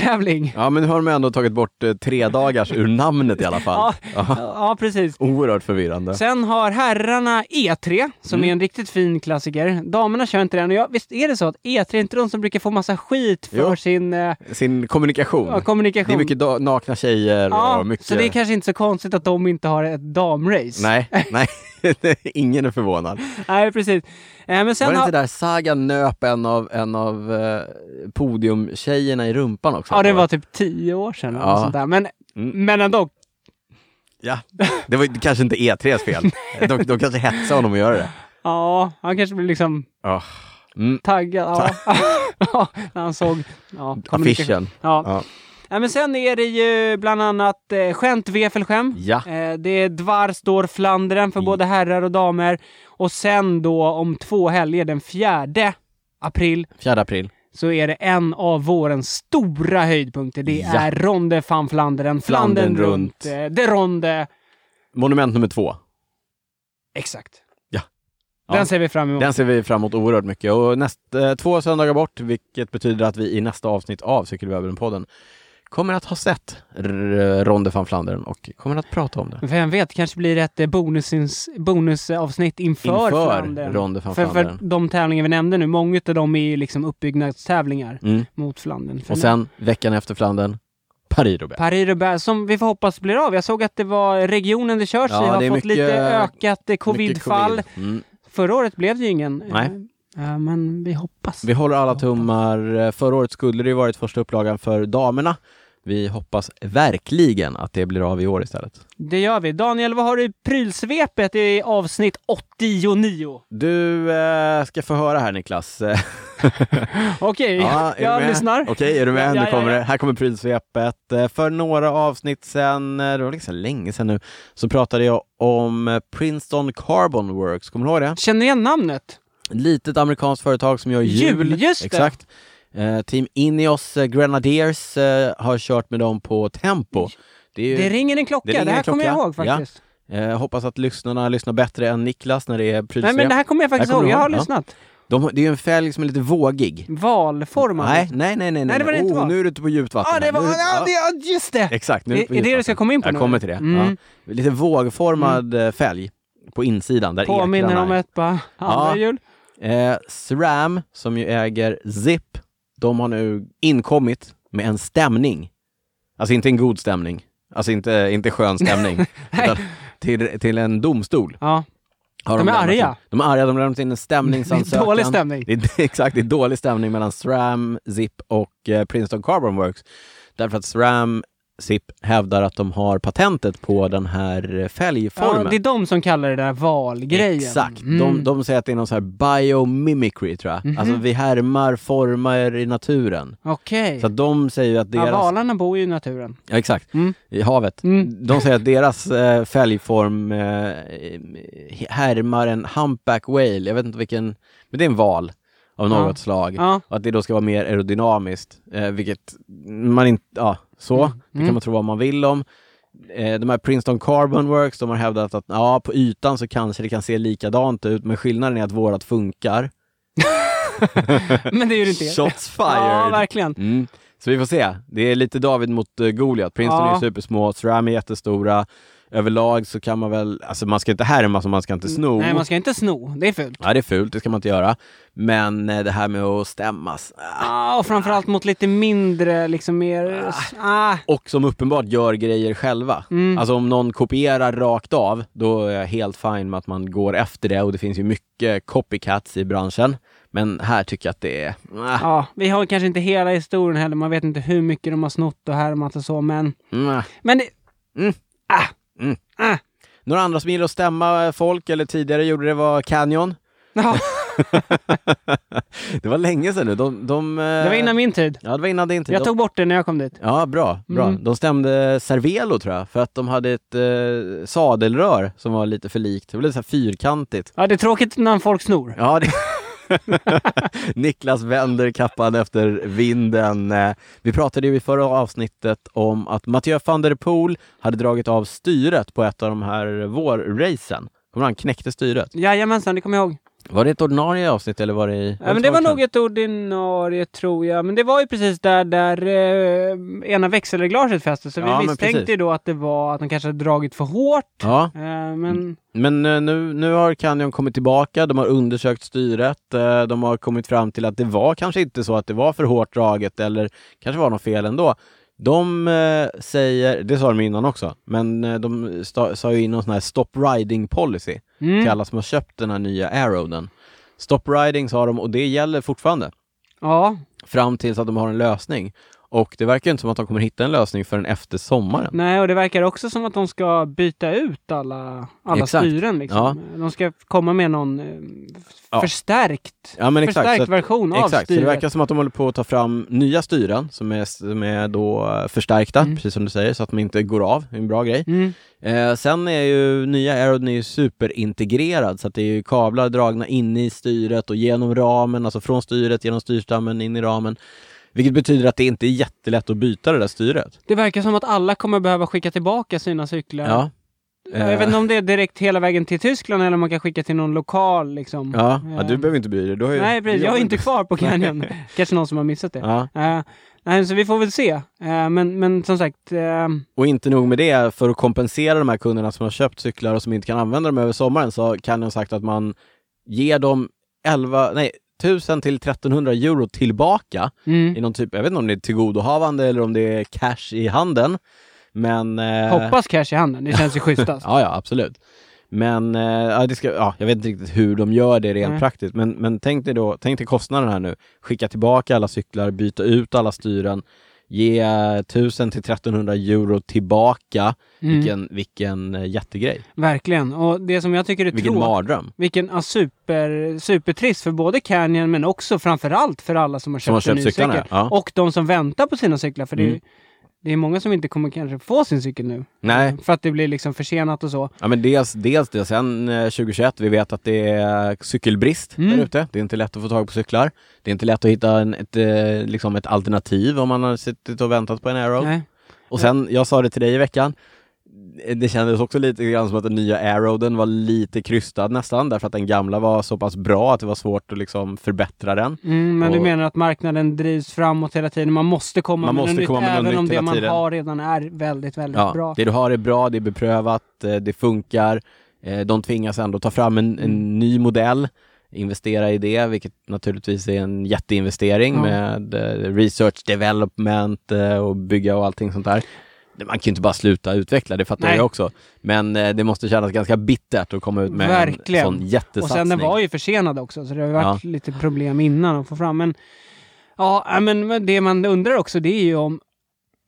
B: endagstävling.
A: Ja, men nu har de ändå tagit bort eh, tre dagars ur namnet i alla fall. Ja.
B: Ja, precis.
A: Oerhört förvirrande.
B: Sen har herrarna E3 som
A: Mm.
B: är en riktigt fin klassiker. Damerna kör inte den och jag, visst är det så att E3 är inte de som brukar få massa skit för
A: Jo.
B: sin eh,
A: Sin kommunikation.
B: ja, kommunikation?
A: Det är mycket da- nakna tjejer
B: Ja,
A: och mycket...
B: så det är kanske inte så konstigt att de inte har ett damrace.
A: Nej, nej. Ingen är förvånad.
B: Nej, precis. Eh, men
A: Var
B: sen
A: det
B: har...
A: inte där Saga nöp en av, en av eh, podiumtjejerna i rumpan också?
B: Ja, det var typ tio år sedan.
A: Ja.
B: Ja. Sånt där. Men,
A: Mm.
B: men ändå,
A: Ja, det var ju kanske inte E3s fel. de, de kanske hetsade honom att göra det.
B: ja, han kanske blir liksom
A: Ja. Mm.
B: taggad. Ja. ja, när han såg ja, kommunikation.
A: Affischen.
B: Ja.
A: Ja.
B: ja, men sen är det ju bland annat eh, skämt Wefelschem.
A: Ja.
B: Eh, det är Dvarstor Flandern för både herrar och damer. Och sen då om två helger, den fjärde april,
A: 4 april.
B: så är det en av vårens stora höjdpunkter. Det
A: Ja.
B: är Ronde van
A: Flandern
B: Flandern, Flandern
A: runt.
B: runt, eh, De Ronde.
A: Monument nummer två.
B: Exakt.
A: Ja.
B: Den
A: Ja.
B: ser vi fram emot.
A: Den ser vi fram emot oerhört mycket. Och näst, eh, två söndagar bort, vilket betyder att vi i nästa avsnitt av Cykelwebben-podden kommer att ha sett R- eh, Ronde van Flandern och kommer att prata om det.
B: Vem vet, kanske blir det ett eh, bonusins, bonusavsnitt inför,
A: Inför
B: Flandern.
A: Ronde van
B: för, för
A: Flandern.
B: de tävlingar vi nämnde nu, många av dem är ju liksom uppbyggnadstävlingar
A: Mm.
B: mot Flandern. För
A: Och sen veckan efter Flandern, Paris-Roubaix.
B: Paris-Roubaix, som vi får hoppas blir av. Jag såg att det var regionen det körs i,
A: Ja,
B: har
A: det är
B: fått
A: mycket-
B: lite ökat eh,
A: Mycket
B: covidfall.
A: covid. Mm.
B: Förra året blev det ju ingen.
A: Nej.
B: Eh, eh, men vi hoppas.
A: Vi håller alla tummar. Förra året skulle det ju varit första upplagan för damerna. Vi hoppas verkligen att det blir av i år istället.
B: Det gör vi. Daniel, vad har du i prylsvepet i avsnitt 89?
A: Du eh, ska få höra här Niklas.
B: Okej,
A: Ja, är du
B: jag
A: med?
B: lyssnar.
A: Okej, är du med?
B: Ja,
A: nu
B: ja,
A: kommer
B: ja.
A: det. Här kommer prylsvepet. Eh, För några avsnitt sen, eh, det var liksom länge sedan nu, så pratade jag om eh, Princeton Carbon Works. Kommer du ihåg det?
B: Känner igen namnet?
A: Litet amerikanskt företag som gör hjul.
B: Hjul, just det.
A: Exakt. Eh, Team Ineos eh, Grenadiers eh, har kört med dem på Tempo. Det är ju-
B: Det ringer en klocka.
A: Det
B: Det,
A: ringer en
B: här kommer jag
A: klocka.
B: ihåg faktiskt.
A: Eh, hoppas att lyssnarna lyssnar bättre än Niklas när det är
B: Nej,
A: prylsvep.
B: men det här kommer jag faktiskt
A: Här kommer
B: ihåg.
A: du
B: Jag har
A: ihåg, ja.
B: lyssnat.
A: De, det är ju en fälg som är lite vågig.
B: Valformad.
A: Nej, nej, nej, nej.
B: Nej, det var det inte,
A: oh,
B: va?
A: nu är du ute på djupt vatten.
B: Ja,
A: här.
B: det var...
A: Nu är du-
B: Ja,
A: ja,
B: det, ja, just det!
A: Exakt. Nu
B: Är-
A: du på
B: är det
A: djupt
B: du ska komma in på
A: Jag
B: nu?
A: kommer till det.
B: Mm.
A: Ja. Lite vågformad eh, fälg på insidan där
B: Påminner
A: ekrarna
B: om
A: är.
B: ett par andra hjul.
A: Eh, SRAM, som ju äger ZIP, de har nu inkommit med en stämning. Alltså inte en god stämning. Alltså inte, inte skön stämning. utan till, till en domstol.
B: Ja.
A: Har
B: De är
A: lämnat
B: arga.
A: in- De är arga. De har lämnat in en
B: Det
A: stämningsansökan.
B: är dålig stämning.
A: Det är, exakt, det är dålig stämning mellan SRAM, ZIP och eh, Princeton Carbon Works. Därför att SRAM, ZIP hävdar att de har patentet på den här eh, fälgformen.
B: Ja, det är de som kallar det där valgrejen.
A: Exakt.
B: Mm. Mhm.
A: De, de säger att det är någon så här biomimicry, tror jag. Alltså vi härmar former i naturen.
B: Okej.
A: Så att de säger ju att
B: Ja,
A: deras...
B: valarna bor ju i naturen.
A: Ja, exakt.
B: Mm.
A: I havet.
B: Mm.
A: De säger att deras eh, fälgform eh, härmar en humpback whale. Jag vet inte vilken... Men det är en val av något
B: Ja.
A: slag.
B: Ja.
A: Och att det då ska vara mer aerodynamiskt, eh, vilket man inte... Ja, så.
B: Mm.
A: Det kan man tro vad man vill om. Eh, de här Princeton Carbon Works, de har hävdat att ja, på ytan så kanske det kan se likadant ut, men skillnaden är att vårat funkar.
B: Men det är ju inte er.
A: Shots
B: Ja,
A: fired!
B: verkligen.
A: mm. Så vi får se. Det är lite David mot eh, Goliat. Princeton
B: Ja.
A: är supersmå, SRAM är jättestora. Överlag så kan man väl, alltså man ska inte härma så man ska inte sno.
B: Mm. Nej, man ska inte sno. Det är fult.
A: Ja, det är fult, det ska man inte göra. Men eh, det här med att stämmas, ah,
B: Ja, och framförallt mot lite mindre, liksom mer... Ah.
A: och som uppenbart gör grejer själva.
B: Mm.
A: Alltså om någon kopierar rakt av, då är jag helt fine med att man går efter det och det finns ju mycket copycats i branschen. Men här tycker jag att det är... Ah,
B: Ja, vi har kanske inte hela historien heller. Man vet inte hur mycket de har snott och härmat och så, men...
A: mm.
B: Men det...
A: Mm. Mm.
B: Ah. Ah.
A: Några andra som gillar att stämma eh, folk, eller tidigare gjorde det, var Canyon.
B: Ja.
A: det var länge sedan nu. De, de, eh,
B: Det var innan min tid.
A: Ja, det var innan din tid.
B: Jag
A: De-
B: tog bort det när jag kom dit.
A: Ja, bra. bra.
B: Mm.
A: De stämde Cervelo tror jag, för att de hade ett eh, sadelrör som var lite för likt. Det blev lite så här fyrkantigt.
B: Ja, det är tråkigt när folk snor.
A: Ja, det... Niklas vänder kappan efter vinden. Eh, Vi pratade ju i förra avsnittet om att Mathieu van der Poel hade dragit av styret på ett av de här vårracen. Kommer du ihåg? han knäckte styret?
B: Jajamensan, det kommer jag ihåg.
A: Var det ett ordinarie avsnitt eller var det i...
B: Ja, men det var nog ett ordinarie tror jag. Men det var ju precis där, där eh, ena växelreglaget fäste. Så
A: Ja,
B: vi
A: men
B: misstänkte
A: precis.
B: ju då att det var att de kanske hade dragit för hårt.
A: Ja,
B: Eh, men
A: Men eh, nu, nu har Canyon kommit tillbaka, de har undersökt styret, eh, de har kommit fram till att det var kanske inte så att det var för hårt draget eller kanske var något fel ändå. De eh, säger, det sa de innan också, men eh, de sta- sa ju in någon sån här stop riding policy till
B: mm,
A: alla som har köpt den här nya Arrowden. Stop riding sa de och det gäller fortfarande
B: ja,
A: fram tills att de har en lösning. Och det verkar inte som att de kommer hitta en lösning förrän efter sommaren.
B: nej, och det verkar också som att de ska byta ut alla, alla
A: Exakt.
B: styren. Liksom. De ska komma med någon eh, f-
A: Ja.
B: förstärkt,
A: Ja, men exakt,
B: förstärkt
A: så att-
B: version av
A: Exakt, så
B: styret.
A: det verkar som att de håller på att ta fram nya styren som är, som är då eh, förstärkta,
B: Mm.
A: precis som du säger, så att de inte går av. Det är en bra grej.
B: Mm.
A: Eh, sen är ju nya Aerodyn är ju superintegrerad, så att det är ju kablar dragna in i styret och genom ramen, alltså från styret, genom styrstammen, in i ramen. Vilket betyder att det inte är jättelätt att byta det där styret.
B: Det verkar som att alla kommer behöva skicka tillbaka sina cyklar.
A: Ja.
B: Jag vet
A: Eh,
B: inte om det är direkt hela vägen till Tyskland eller om man kan skicka till någon lokal liksom.
A: ja. ja, du
B: Eh,
A: behöver inte bry dig. Du har ju...
B: Nej, precis.
A: du
B: Jag är
A: jobbar-
B: inte kvar på Canyon. Kanske någon som har missat det.
A: Ja.
B: Eh, nej, så vi får väl se. Eh, men, men som sagt, eh,
A: Och inte nog med det, för att kompensera de här kunderna som har köpt cyklar och som inte kan använda dem över sommaren så har Canyon sagt att man ger dem 11, nej, 1000 till 1300 euro tillbaka
B: mm,
A: i någon typ, jag vet inte om det är tillgodohavande eller om det är cash i handen. Men... eh,
B: hoppas cash i handen. Det känns ju alltså. schysstast.
A: Ja, ja, absolut. Men eh, ja, det ska, ja, jag vet inte riktigt hur de gör det rent
B: Nej.
A: praktiskt, men, men tänk, dig då, tänk dig kostnaden här nu. Skicka tillbaka alla cyklar, byta ut alla styren, ge eh, 1000 till 1300 euro tillbaka.
B: Mm.
A: Vilken, vilken eh, jättegrej.
B: Verkligen. Och det som jag tycker är
A: Vilken
B: tråkigt.
A: mardröm.
B: Vilken ja, super, supertrist för både Canyon men också framförallt för alla som har köpt,
A: Som har
B: en
A: köpt
B: ny
A: cyklarna,
B: cykel.
A: ja.
B: Och de som väntar på sina cyklar. För det, är,
A: Mm.
B: det är många som inte kommer kanske få sin cykel nu.
A: Nej,
B: För att det blir liksom försenat och så.
A: ja, men dels, dels det. Sen eh, 2021, vi vet att det är cykelbrist
B: Mm.
A: där ute. Det är inte lätt att få tag på cyklar. Det är inte lätt att hitta en, ett, eh, liksom ett alternativ om man har suttit och väntat på en Aero.
B: Nej.
A: Och sen, jag sa det till dig i veckan, eh, det kändes också lite grann som att den nya Aeroden var lite krystad nästan, därför att den gamla var så pass bra att det var svårt att liksom förbättra den.
B: Mm, men du
A: Och-
B: menar att marknaden drivs framåt hela tiden. Man måste komma
A: Man
B: med
A: måste
B: något
A: komma
B: nytt
A: med något
B: även
A: nytt
B: om det
A: hela
B: man
A: tiden.
B: har redan är väldigt, väldigt bra.
A: Det du har är bra, det är beprövat, eh, det funkar, eh, de tvingas ändå ta fram en,
B: Mm.
A: en ny modell, investera i det, vilket naturligtvis är en jätteinvestering
B: Ja.
A: med eh, research development eh, och bygga och allting sånt där. Det- Man kan ju inte bara sluta utveckla, det fattar
B: Nej.
A: jag också. Men eh, det måste kännas ganska bittert att komma ut med
B: Verkligen.
A: en sån
B: Och
A: jättesatsning.
B: sen den var ju försenad också, så det har ju varit lite problem innan att få fram. Men, ja, äh, men men det man undrar också det är ju om...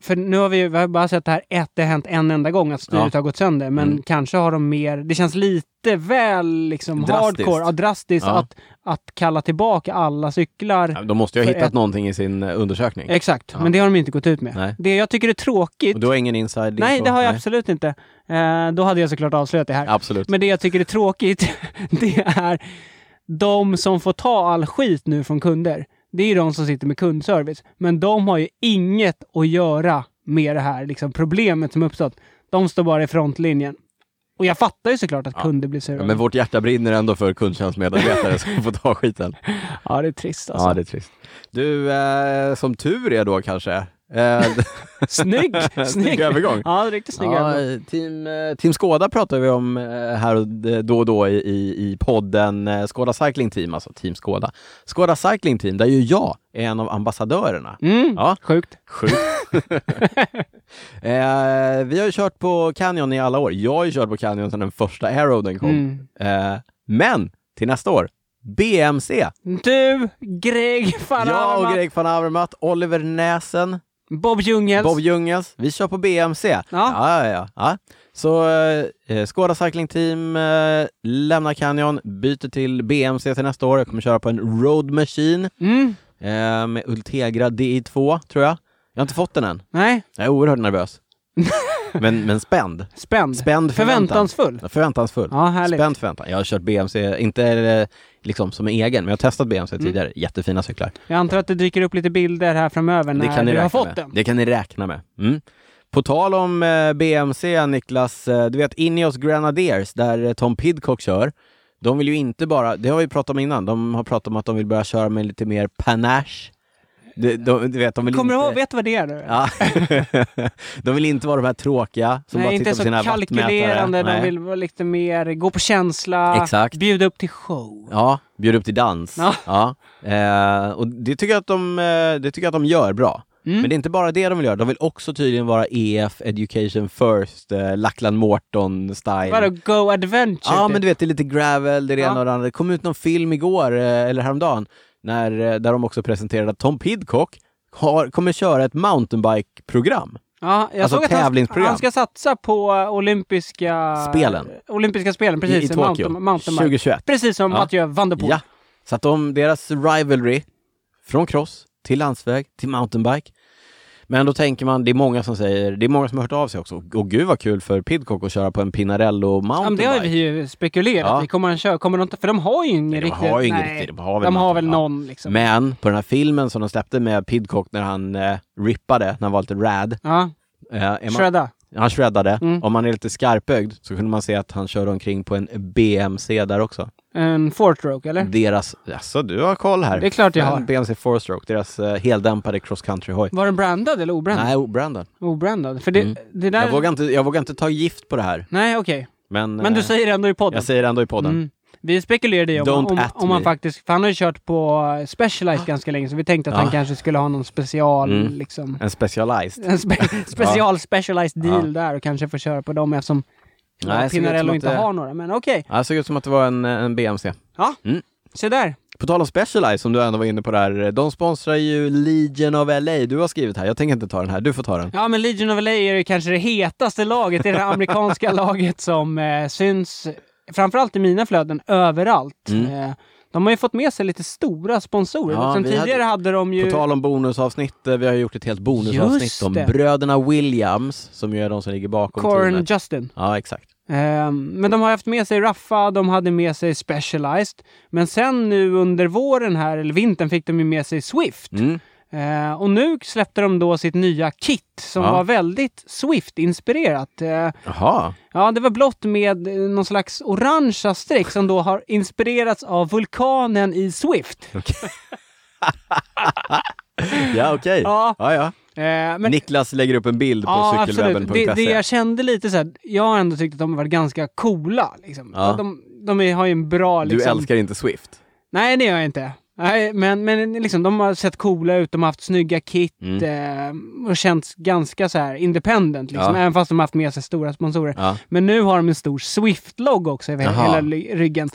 B: För nu har vi ju vi har bara sett det här ett, det har hänt en enda gång att styret
A: Ja.
B: har gått sönder. Men
A: Mm.
B: kanske har de mer... Det känns lite väl liksom
A: Drastiskt.
B: hardcore, ja, drastiskt
A: Ja.
B: Att, att kalla tillbaka alla cyklar.
A: Ja, De måste ju ha
B: För
A: hittat
B: ett-
A: någonting i sin eh, undersökning.
B: Exakt,
A: Ja.
B: men det har de inte gått ut med.
A: Nej.
B: Det jag tycker är tråkigt
A: Och du har ingen inside
B: Nej,
A: info?
B: det har jag absolut inte. Eh, då hade jag såklart avslöjat det här.
A: Absolut.
B: Men det jag tycker är tråkigt, det är de som får ta all skit nu från kunder. Det är ju de som sitter med kundservice. Men de har ju inget att göra med det här liksom, problemet som uppstått. De står bara i frontlinjen. Och jag fattar ju såklart att kunder blir sura.
A: Ja,
B: Ja,
A: men vårt hjärta brinner ändå för kundtjänstmedarbetare som får ta skiten.
B: det är trist alltså.
A: Ja, det är trist. Du, eh, som tur är då kanske. Eh,
B: Snygg!
A: Snygg övergång.
B: Ja, riktigt snygg
A: ja,
B: övergång.
A: eh, team, eh, team Skåda pratar vi om eh, här och d- då och då i, i, i podden eh, Skåda Cycling Team, alltså Team Skåda. Skåda Cycling Team, där ju jag är en av ambassadörerna.
B: Mm,
A: Ja.
B: Sjukt.
A: Sjukt. eh, vi har ju kört på Canyon i alla år. Jag har ju kört på Canyon sedan den första Aero den kom.
B: Mm.
A: Eh, men till nästa år, BMC.
B: Du, Greg van
A: jag och
B: Avermaet,
A: Greg van Avermaet, Oliver Näsen,
B: Bob Ljunghels.
A: Bob Ljungels. Vi kör på BMC.
B: Ja.
A: Ja, ja, ja. Så eh, Skåda Cycling Team eh, lämnar Canyon, byter till BMC till nästa år. Jag kommer köra på en Road Machine
B: Mm.
A: eh, med Ultegra DI2, tror jag. Jag har inte fått den än.
B: Nej,
A: Jag är oerhört nervös. men, men spänd.
B: spänd.
A: Spänd förväntan.
B: Förväntansfull.
A: Ja, Förväntansfull.
B: Ja, härligt.
A: Spänd förväntan. Jag har kört BMC, inte eh, liksom som egen, men jag har testat BMC
B: Mm.
A: tidigare. Jättefina cyklar.
B: Jag antar att det dyker upp lite bilder här framöver när
A: Det kan ni
B: du har
A: räkna
B: fått
A: med.
B: den.
A: Det kan ni räkna med. Mm. På tal om eh, BMC, Niklas, eh, du vet Ineos Grenadiers, där eh, Tom Pidcock kör, de vill ju inte bara, det har vi pratat om innan, de har pratat om att de vill börja köra med lite mer panache. De, de, du vet, de vill
B: Kommer du
A: inte...
B: ihåg? Vet du vad det är? då?
A: Ja. de vill inte vara de här tråkiga som
B: Nej,
A: bara
B: inte
A: tittar på
B: så
A: sina
B: kalkylerande.
A: vattmätare.
B: De
A: Nej.
B: vill vara lite mer gå på känsla,
A: Exakt.
B: bjuda upp till show.
A: Ja, bjuda upp till dans.
B: Ja.
A: Ja. Eh, och det tycker, jag att de, eh, det tycker jag att de gör bra.
B: Mm.
A: Men det är inte bara det de vill göra, de vill också tydligen vara EF, Education First, eh, Lackland Morton-style.
B: Vadå, go adventure?
A: Ja,
B: typ.
A: men du vet, det är lite gravel, det är det
B: Ja.
A: ena och det andra. Det kom ut någon film igår, eh, eller häromdagen, när, eh, där de också presenterade att Tom Pidcock har, kommer köra ett mountainbike-program.
B: ja, jag
A: alltså
B: såg att han-
A: tävlingsprogram.
B: Han ska satsa på olympiska
A: Spelen.
B: Olympiska spelen,
A: I,
B: precis.
A: I Tokyo,
B: mountain- mountainbike.
A: 2021.
B: Precis som
A: Ja.
B: Mathieu van der Poel.
A: Ja, så att de, deras rivalry från cross till landsväg till mountainbike. Men då tänker man, det är många som säger, det är många som har hört av sig också. Och gud vad kul för Pidcock att köra på en Pinarello
B: Ja, men det
A: mountainbike.
B: har vi ju spekulerat
A: Ja.
B: i. Kommer han köra? Kommer de inte, för de har ju ingen
A: Nej, de
B: riktigt.
A: har ju ingen
B: nej.
A: riktigt. De har väl
B: De har
A: något,
B: väl
A: ja.
B: någon liksom.
A: Men på den här filmen som de släppte med Pidcock när han eh, rippade, när han var lite rad.
B: ja,
A: Eh, är man,
B: shredda.
A: han shreddade.
B: Mm.
A: Om man är lite skarpögd så kunde man se att han körde omkring på en BMC där också.
B: En fortroke, eller?
A: Deras, alltså du har koll här.
B: Mm. Det är klart jag har.
A: En BMC 4-stroke, deras eh, heldämpade cross country-hoj.
B: Var den brandad eller obrandad?
A: Nej, obrandad.
B: Obrandad. För det,
A: Mm.
B: det där...
A: Jag, vågar inte, jag vågar inte ta gift på det här.
B: Nej, okej.
A: Men,
B: Men du
A: eh,
B: säger det ändå i podden.
A: jag säger det ändå i podden.
B: Mm. Vi spekulerade i om,
A: Don't
B: om,
A: at
B: om han
A: me.
B: faktiskt... För han har ju kört på eh, Specialized ganska länge, så vi tänkte att
A: Ja.
B: han kanske skulle ha någon special,
A: Ah. Mm.
B: liksom...
A: En specialized.
B: En spe- special Specialized deal där och kanske få köra på dem eftersom
A: Ah. Nej,
B: Nej,
A: det ser ut
B: Pinarello
A: som
B: inte
A: att det-
B: har några. Men okej,
A: Ja, det såg ut som att det var en, en BMC. Mm.
B: se där.
A: På tal om Specialized som du ändå var inne på där, de sponsrar ju Legion of LA. Du har skrivit här, jag tänker inte ta den här, du får ta den.
B: Ja, men Legion of LA är ju kanske det hetaste laget. Det är det amerikanska laget som eh, syns, framförallt i mina flöden, överallt.
A: Mm.
B: Eh, de har ju fått med sig lite stora sponsorer.
A: Ja,
B: Sen
A: vi hade-
B: tidigare hade, de ju...
A: På tal om bonusavsnitt, eh, vi har gjort ett helt
B: Just
A: bonusavsnitt om
B: det.
A: bröderna Williams, som ju är de som ligger bakom
B: Corin
A: teamet.
B: Justin.
A: Ja, exakt.
B: Eh, men de har haft med sig Raffa, de hade med sig Specialized. Men sen nu under våren här, eller vintern, fick de ju med sig Swift.
A: Mm.
B: Eh, och nu släppte de då sitt nya kit som
A: Ja.
B: var väldigt Swift-inspirerat. Eh,
A: Jaha,
B: ja, det var blått med eh, någon slags orangea streck som då har inspirerats av vulkanen i Swift. Eh,
A: ja okej.
B: Ja.
A: Ja, ja.
B: Eh, men,
A: Niklas lägger upp en bild på
B: ja, absolut.
A: cykelwebben.se.
B: Det, det jag kände lite så här, jag har ändå tyckt att de har varit ganska coola. Liksom.
A: Ja.
B: Att De, de är, har ju en bra...
A: Du
B: Liksom,
A: älskar inte Swift?
B: Nej, det gör jag inte. Nej, men, men liksom, de har sett coola ut, de har haft snygga kit
A: Mm.
B: eh, och känts ganska så här independent, liksom,
A: Ja.
B: även fast de har haft med sig stora sponsorer.
A: Ja.
B: Men nu har de en stor Swift-logg också över
A: Jaha.
B: hela ly- ryggen.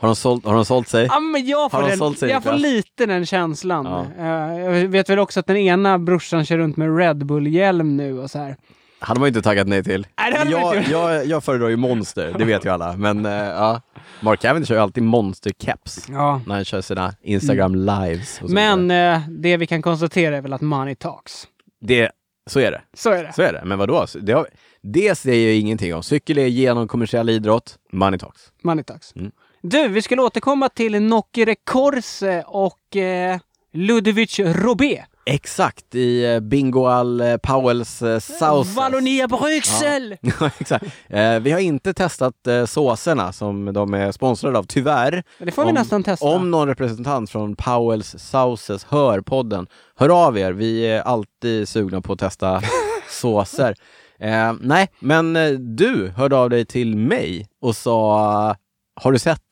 A: Har de sålt, har de sålt sig?
B: Ja, men jag får,
A: Har de
B: den,
A: sålt sig,
B: jag får
A: Niklas?
B: lite den känslan.
A: Ja.
B: Eh, jag vet väl också att den ena brorsan kör runt med Red Bull-hjälm nu och så här.
A: hade man ju inte taggat nej till.
B: Nej, det hade man
A: jag,
B: inte
A: jag, jag föredrar ju Monster, det vet ju alla. Men eh, ja, Mark Cavendish kör ju alltid Monster-keps
B: Ja. Mm.
A: när han kör sina Instagram lives. Och så vidare.
B: Men eh, det vi kan konstatera är väl att money talks.
A: det, så är det.
B: Så är det.
A: Så är det. Men vadå? Det, har, det säger jag ingenting om. Cykel är genomkommersiell idrott. Money talks.
B: Money talks.
A: Mm.
B: Du, vi skulle återkomma till Nokere Korse och eh, Ludovic Robé.
A: Exakt, i eh, Bingo Al eh, Powells eh, sauces.
B: Wallonia Bruxelles!
A: Ja, exakt. Eh, vi har inte testat eh, såserna som de är sponsrade av, tyvärr.
B: Men Det får vi nästan testa.
A: Om någon representant från Powells Sauces hör podden, hör av er. Vi är alltid sugna på att testa såser. Eh, nej, men eh, du hörde av dig till mig och sa, har du sett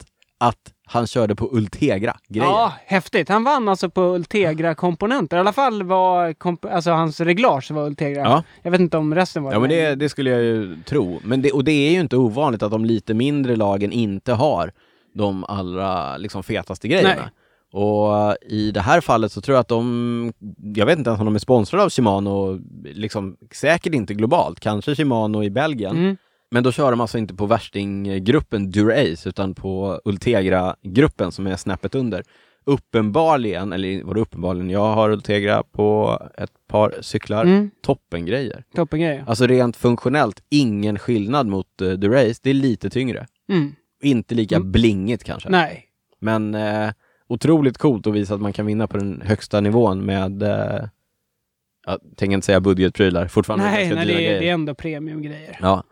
A: att han körde på Ultegra-grejen?
B: Ja, häftigt. Han vann alltså på Ultegra-komponenter. I alla fall var komp- alltså, hans reglage var Ultegra.
A: Ja.
B: Jag vet inte om resten var
A: Ja, men det, det skulle jag ju tro. Men det, och det är ju inte ovanligt att de lite mindre lagen inte har de allra liksom, fetaste grejerna.
B: Nej.
A: Och eh, i det här fallet så tror jag att de, jag vet inte ens om de är sponsrade av Shimano, liksom, säkert inte globalt, kanske Shimano i Belgien.
B: Mm.
A: Men då kör de alltså inte på värstinggruppen Durace utan på Ultegra-gruppen som är snäppet under. Uppenbarligen, eller var det uppenbarligen, jag har Ultegra på ett par cyklar.
B: Mm.
A: Toppengrejer.
B: Toppengrej. ja.
A: Alltså rent funktionellt, ingen skillnad mot eh, Durace. Det är lite tyngre.
B: Mm.
A: Inte lika
B: Mm.
A: blingigt kanske.
B: Nej.
A: Men eh, otroligt coolt att visa att man kan vinna på den högsta nivån med, eh, jag tänker inte säga budgetprylar, fortfarande
B: Nej,
A: ganska
B: nej det,
A: dyra
B: är,
A: grejer.
B: det är ändå premiumgrejer.
A: Ja.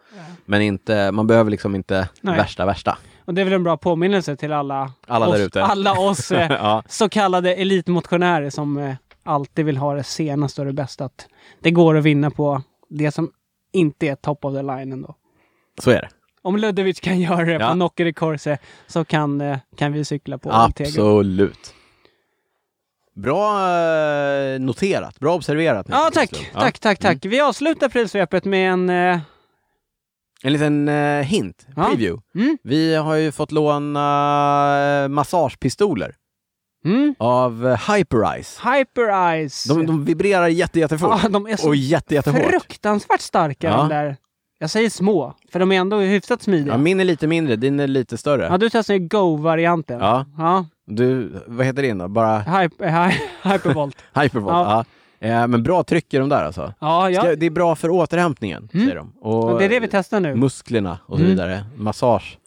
A: Men inte, man behöver liksom inte
B: Nej.
A: värsta värsta.
B: Och det är väl en bra påminnelse till alla,
A: Alla
B: oss,
A: där ute.
B: alla oss eh,
A: ja.
B: så kallade elitmotionärer som eh, alltid vill ha det senaste och det bästa. Att det går att vinna på det som inte är top of the line ändå.
A: Så är det.
B: Om Ludovic kan göra det
A: Ja.
B: på Nocker i Corse så kan, eh, kan vi cykla på Ultegra.
A: Absolut. Bra eh, noterat, bra observerat.
B: Ja,
A: Niklas
B: tack,
A: Lundström. Ja. Mm.
B: tack, tack, tack. Vi avslutar prylsvepet med en... Eh,
A: En liten eh, hint,
B: Ja.
A: preview.
B: Mm.
A: Vi har ju fått låna eh, massagepistoler
B: mm,
A: av eh, Hyperice.
B: Hyper Eyes.
A: De, de vibrerar jätte, jättefort
B: Ja, de är så
A: och jätte, jättehårt.
B: fruktansvärt starka
A: Ja.
B: de där. Jag säger små, för de är ändå hyfsat smidiga.
A: Ja,
B: Ja,
A: min är lite mindre, din är lite större.
B: du testar ju Go-varianten.
A: Ja.
B: ja.
A: Du, vad heter din då? Bara
B: Hyper, hy, hypervolt.
A: Hypervolt? Ja.
B: Ja.
A: Eh, men bra tryck i de där alltså.
B: Ja, ja.
A: Ska, det är bra för återhämtningen,
B: Mm.
A: säger de. Och
B: ja. Det är det vi testar nu.
A: musklerna och så
B: Mm.
A: vidare. Massage.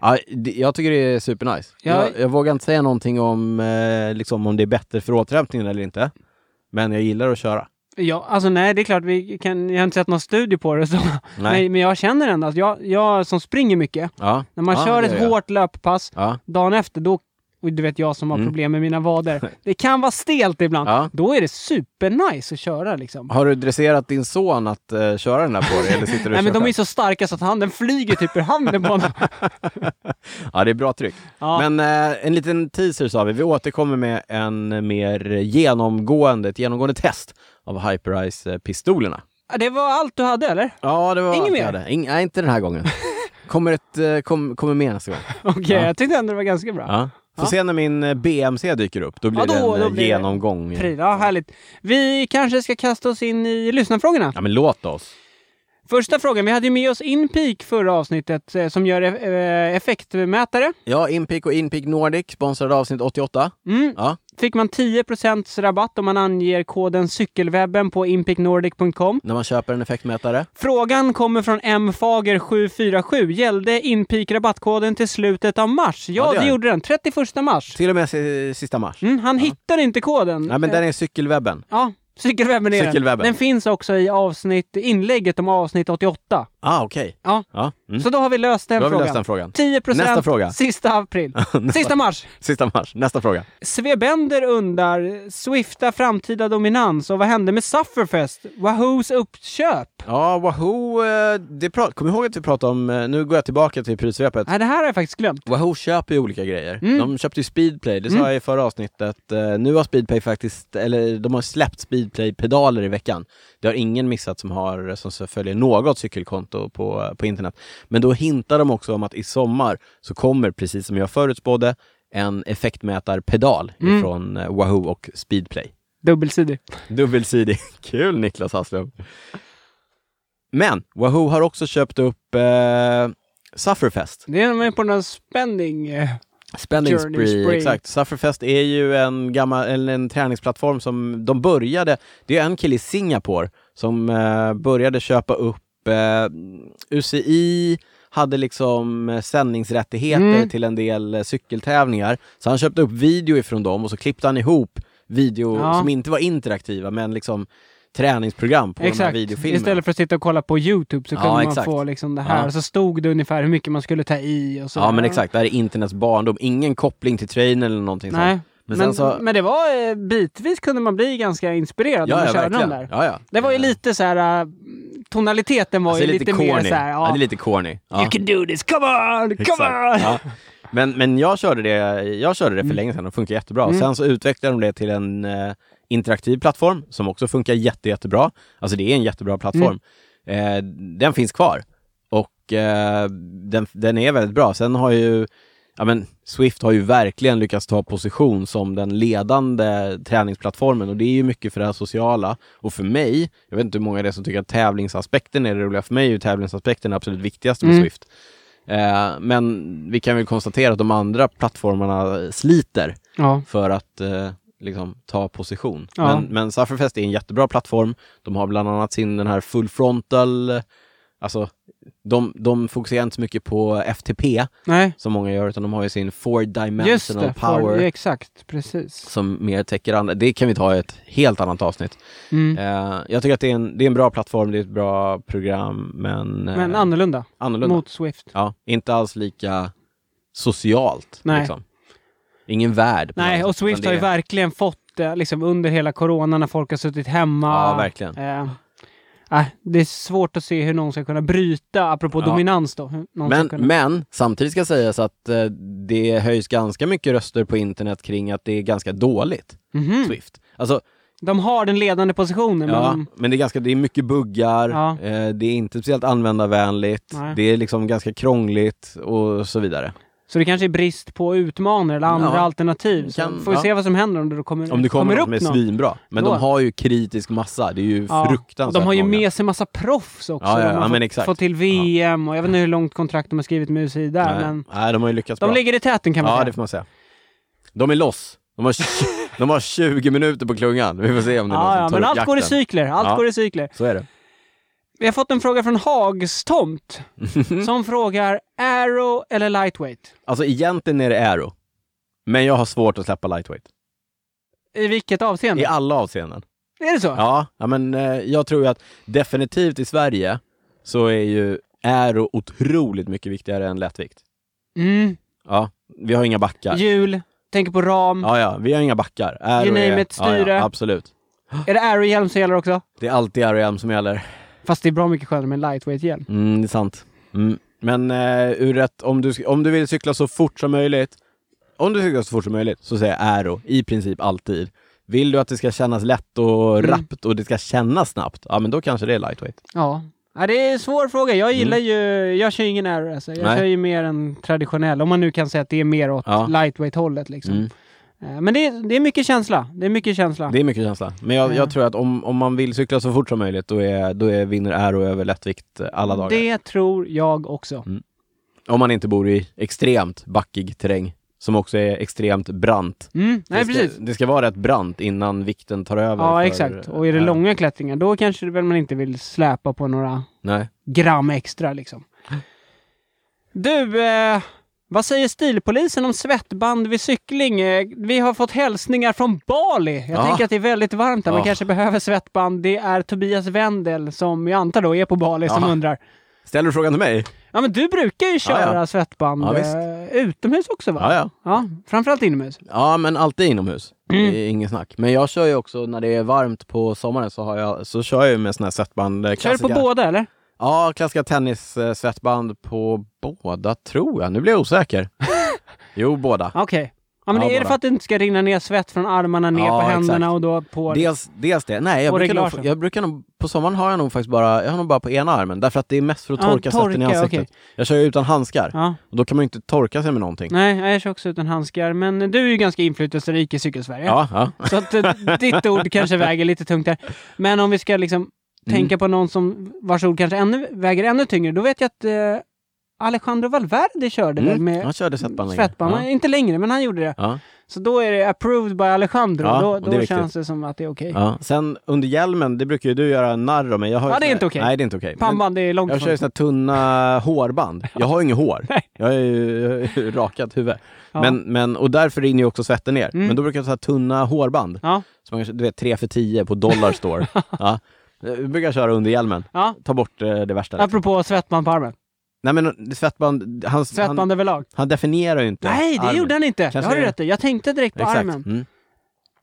A: Ja, det, jag tycker det är supernice.
B: Ja.
A: Jag, jag vågar inte säga någonting om, eh, liksom, om det är bättre för återhämtningen eller inte. Men jag gillar att köra.
B: Ja, alltså nej, det är klart, vi kan, jag har inte sett någon studie på det. Så. Nej, men jag känner ändå att jag, jag som springer mycket,
A: Ja.
B: när man
A: Ja,
B: kör
A: det
B: ett
A: gör jag.
B: hårt löppass
A: Ja.
B: dagen efter, då, och du vet jag som har
A: Mm.
B: problem med mina vader, det kan vara stelt ibland.
A: Ja.
B: Då är det supernice att köra liksom.
A: Har du dresserat din son att eh, köra den där på dig? Eller sitter du och
B: Nej men
A: kör
B: de är
A: själv?
B: så starka så att handen flyger typ ur handen på honom.
A: Ja, det är bra tryck.
B: Ja.
A: Men eh, en liten teaser sa vi. Vi återkommer med en mer genomgående, ett genomgående test av Hyperice-pistolerna.
B: Det var allt du hade eller?
A: Ja, det var
B: Inget
A: allt jag
B: mer?
A: hade. Ing- nej, inte den här gången. Kommer, ett, eh, kom, kommer mer nästa gång.
B: Okej,
A: Ja.
B: jag tyckte ändå det var ganska bra.
A: Ja. Får
B: Ja.
A: se när min eh, BMC dyker upp. Då blir
B: Ja, då-
A: det en eh,
B: då blir det
A: genomgång.
B: Pryd, ja härligt. Vi kanske ska kasta oss in i lyssnarfrågorna.
A: Ja, men låt oss.
B: Första frågan, vi hade ju med oss Inpeak förra avsnittet eh, som gör eff- eh, effektmätare.
A: Ja, Inpic och Inpic Nordic sponsrade avsnitt 88.
B: Mm.
A: Ja.
B: Fick man 10% rabatt om man anger koden cykelwebben på inpeaknordic.com.
A: När man köper en effektmätare.
B: Frågan kommer från mfager747. Gällde Inpeak rabattkoden till slutet av mars?
A: Ja, det
B: Ja,
A: gör
B: det
A: den.
B: gjorde den. 31 mars.
A: Till och med si- sista mars.
B: Mm, han hittar inte koden.
A: Nej, men den är cykelwebben.
B: Ja, cykelwebben är
A: Cykelwebben.
B: den. Den finns också i avsnitt, inlägget om avsnitt 88.
A: Ah, okej.
B: Ja.
A: Ja. Mm.
B: Så då har vi löst den
A: Då har vi
B: frågan.
A: löst den frågan.
B: 10
A: Nästa fråga.
B: sista april. sista mars.
A: Sista mars. Nästa fråga.
B: Svebender undrar, Swifta framtida dominans och vad hände med Sufferfest? Wahoos uppköp?
A: Ja, Wahoo, eh, det pra- kom ihåg att vi pratade om, eh, nu går jag tillbaka till prylsvepet.
B: Nej, det här har jag faktiskt glömt.
A: Wahoo köper ju olika grejer.
B: Mm.
A: De köpte ju Speedplay, det sa
B: Mm.
A: jag i förra avsnittet. Eh, Nu har Speedplay faktiskt, eller de har släppt Speedplay-pedaler i veckan. Det har ingen missat som, har, som så följer något cykelkonto på, på internet. Men då hintar de också om att i sommar så kommer, precis som jag förutspådde, en effektmätarpedal
B: Mm.
A: från Wahoo och Speedplay.
B: Dubbelsidig.
A: Dubbelsidig. Kul Niklas Hasslum. Men Wahoo har också köpt upp eh, Sufferfest.
B: Det är med på någon spending. eh.
A: Spending
B: Journey
A: spree,
B: Spree.
A: exakt. Sufferfest är ju en, gammal, en, en träningsplattform som de började, det är en kille i Singapore som eh, började köpa upp eh, UCI, hade liksom eh, sändningsrättigheter
B: Mm.
A: till en del eh, cykeltävlingar. Så han köpte upp video ifrån dem och så klippte han ihop video
B: Ja.
A: som inte var interaktiva men liksom träningsprogram på de här
B: Exakt.
A: videofilmerna.
B: Istället för att sitta och kolla på YouTube så
A: Ja,
B: kunde man
A: exakt.
B: få liksom det här.
A: Ja.
B: Och så stod det ungefär hur mycket man skulle ta i och så.
A: Ja men exakt, det här är internets barndom. Ingen koppling till train eller någonting sånt.
B: Nej.
A: Men
B: Men,
A: sen
B: men,
A: så-
B: det var eh, bitvis kunde man bli ganska inspirerad
A: Ja,
B: när man
A: ja,
B: körde
A: verkligen.
B: dem där.
A: Ja, ja.
B: Det var ju lite så här, eh, tonaliteten var
A: Alltså,
B: ju
A: det är
B: lite, mer så här,
A: Ja,
B: ja,
A: det är lite corny. Ja.
B: You can do this, come on, come
A: Exakt.
B: on! Mm.
A: Ja. Men, men jag, körde det, jag körde det för länge sedan och funkar jättebra. Sen så utvecklade de det till en eh, interaktiv plattform som också funkar jätte, jättebra. Alltså det är en jättebra plattform.
B: Mm.
A: Eh, den finns kvar och eh, den, den är väldigt bra. Sen har ju ja, men Swift har ju verkligen lyckats ta position som den ledande träningsplattformen och det är ju mycket för det här sociala. Och för mig, jag vet inte hur många det är som tycker att tävlingsaspekten är det roliga, för mig är ju tävlingsaspekten det absolut viktigaste med
B: Mm.
A: Swift. Eh, men vi kan väl konstatera att de andra plattformarna sliter
B: Ja.
A: för att eh, liksom, ta position.
B: Ja.
A: Men, men Sufferfest är en jättebra plattform. De har bland annat sin den här full frontal, eh, alltså de, de fokuserar inte så mycket på FTP
B: Nej,
A: som många gör, utan de har ju sin four
B: just
A: dimensional
B: det.
A: power
B: Ja, exakt, precis.
A: som mer täcker andra. Det kan vi ta i ett helt annat avsnitt.
B: Mm.
A: Eh, jag tycker att det är, en, det är en bra plattform, det är ett bra program, men, eh,
B: Men annorlunda
A: annorlunda.
B: mot Swift.
A: Ja, inte alls lika socialt.
B: Nej.
A: Liksom. Ingen värld. på
B: Nej,
A: något
B: och
A: sätt, utan
B: Swift har ju
A: det är-
B: verkligen fått det liksom under hela corona när folk har suttit hemma.
A: Ja, verkligen.
B: Eh, äh, det är svårt att se hur någon ska kunna bryta, apropå
A: Ja.
B: dominans då. hur Någon
A: Men,
B: ska kunna...
A: men samtidigt ska sägas att eh, det höjs ganska mycket röster på internet kring att det är ganska dåligt,
B: Mhm.
A: Swift. Alltså,
B: De har den ledande positionen, men
A: ja,
B: de...
A: men det är, ganska, det är mycket buggar,
B: Ja.
A: eh, det är inte speciellt användarvänligt,
B: Nej.
A: det är liksom ganska krångligt och så vidare.
B: så det kanske är brist på utmanare eller andra
A: Ja.
B: alternativ. Så
A: Kan-
B: får vi
A: ja.
B: se vad som händer om det då Mm. kommer,
A: Om det kommer,
B: upp
A: något med
B: någon.
A: svinbra. Men
B: Då-
A: de har ju kritisk massa, det är ju
B: Ja.
A: fruktansvärt
B: De har ju
A: många.
B: med sig massa proffs också.
A: Ja, ja,
B: de har
A: ja, men
B: fått-
A: exakt.
B: fått till VM och jag vet inte hur långt kontrakt de har skrivit med UCI där,
A: Nej.
B: men
A: Nej, de har ju lyckats
B: de
A: bra.
B: ligger i täten kan man
A: Ja,
B: säga.
A: det får man säga. De är loss. De har, de har 20 minuter på klungan. Vi får se om det är någon
B: Ja,
A: som
B: ja,
A: tar
B: men
A: upp
B: allt går i
A: jakten.
B: cykler. Allt
A: Ja.
B: går i cykler.
A: Så är det.
B: Vi har fått en fråga från Hagstomt som frågar Arrow eller lightweight?
A: Alltså egentligen är det aero. Men jag har svårt att släppa lightweight.
B: I vilket avseende?
A: I alla avseenden.
B: Är det så?
A: Ja, ja men eh, jag tror ju att definitivt i Sverige så är ju aero otroligt mycket viktigare än lättvikt.
B: Mm.
A: Ja, vi har inga backar.
B: Hjul, tänker på ram.
A: Ja, ja, vi har inga backar. Aero
B: You name
A: är,
B: it,
A: Ja,
B: styre.
A: ja, absolut.
B: Är det Arrow-hjälm som gäller också?
A: Det är alltid aero som gäller.
B: Fast det är bra mycket skönare med en lightweight-hjälm.
A: Mm, det är sant. Mm. Men eh, ur ett, om, du, om du vill cykla så fort som möjligt, om du cyklar så fort som möjligt, så säger jag aero i princip alltid. Vill du att det ska kännas lätt och
B: Mm.
A: rappt och det ska kännas snabbt, ja men då kanske det är lightweight.
B: Ja. ja. Det är en svår fråga. Jag gillar ju... Jag kör ju ingen Arrow alltså. Jag
A: Mm. Nej.
B: kör ju mer en traditionell. Om man nu kan säga att det är mer åt
A: Ja.
B: lightweight-hållet liksom.
A: Mm.
B: Eh, Men det är, det är mycket känsla. Det är mycket känsla.
A: Det är mycket känsla. Men jag,
B: Ja.
A: jag tror att om, om man vill cykla så fort som möjligt, då, är, då är, vinner aero över lättvikt eh, alla dagar.
B: det tror jag också.
A: Om man inte bor i extremt backig terräng, som också är extremt brant.
B: Mm. Nej,
A: det, ska,
B: precis.
A: det ska vara rätt brant innan vikten tar över.
B: Ja,
A: för,
B: exakt.
A: eh,
B: Och är det
A: aero.
B: långa klättringar, då kanske det väl man inte vill släpa på några
A: Nej.
B: gram extra liksom. Du, eh, vad säger stilpolisen om svettband vid cykling? Eh, vi har fått hälsningar från Bali. Jag
A: Ja.
B: tänker att det är väldigt varmt där. Man
A: Ja.
B: kanske behöver svettband. Det är Tobias Wendel, som jag antar då är på Bali, som
A: Ja.
B: undrar.
A: Ställer du frågan till mig?
B: Ja, men du brukar ju köra
A: Ja, ja.
B: svettband
A: Ja, visst.
B: eh, utomhus också va?
A: Ja, ja.
B: ja, framförallt inomhus.
A: Ja, men alltid inomhus.
B: Mm.
A: Det är inget snack. Men jag kör ju också, när det är varmt på sommaren, så, har jag, så kör jag ju med såna här svettband. eh,
B: Kör du på
A: klassiska-
B: båda eller?
A: Ja, klassiska tennissvettband på båda, tror jag. Nu blir jag osäker. jo, båda.
B: Okej. Ja, men
A: Ja,
B: är det
A: bara.
B: för att det inte ska rinna ner svett från armarna ner
A: Ja,
B: på händerna
A: exakt.
B: och då på...
A: Dels, dels det. Nej, jag
B: Och
A: brukar, nog,
B: reglagen.
A: jag brukar nog... På sommaren har jag nog faktiskt bara... Jag har nog bara på ena armen, därför att det är mest för att
B: Ja,
A: torka svetten i
B: torka,
A: ansiktet. Jag kör ju utan handskar.
B: Ja.
A: Och då kan man ju inte torka sig med någonting.
B: Nej, jag kör också utan handskar. Men du är ju ganska inflytelserik i Cykelsverige.
A: Ja, ja.
B: Så att eh, ditt ord kanske väger lite tungt där. Men om vi ska liksom
A: Mm.
B: tänka på någon som vars ord kanske ännu, väger ännu tyngre, då vet jag att eh, Alejandro Valverde körde
A: Mm.
B: väl med
A: Han körde svettband länge.
B: svettband.
A: Ja.
B: Inte längre, men han gjorde det.
A: Ja.
B: Så då är det approved by Alejandro.
A: Ja,
B: då
A: och det är
B: då
A: viktigt.
B: känns det som att det är okej.
A: Ja. Sen under hjälmen, det brukar ju du göra narr av mig. Jag har ju
B: Ja, det är
A: såna-
B: inte okej.
A: Nej, det är inte okej. Men-
B: Pannband, det är långt
A: Jag kör ju såna här tunna hårband. Jag har ju inget hår.
B: Nej.
A: Jag har ju jag har ju rakat huvud.
B: Ja.
A: Men, men, och därför rinner ju också svetten ner.
B: Mm.
A: Men då brukar jag ta tunna hårband.
B: Ja.
A: Som man kanske, du vet, 3 för 10 på dollar store. ja. Jag brukar köra under hjälmen.
B: Ja.
A: Ta bort eh, det värsta.
B: Apropå svettband på armen.
A: Nej men eh, svettband, han,
B: Svettband
A: han,
B: överlag.
A: han definierar ju inte
B: Nej, det
A: armen.
B: gjorde han inte. det har
A: är
B: du
A: det-
B: rätt i. Jag tänkte direkt på
A: Exakt.
B: armen.
A: Mm.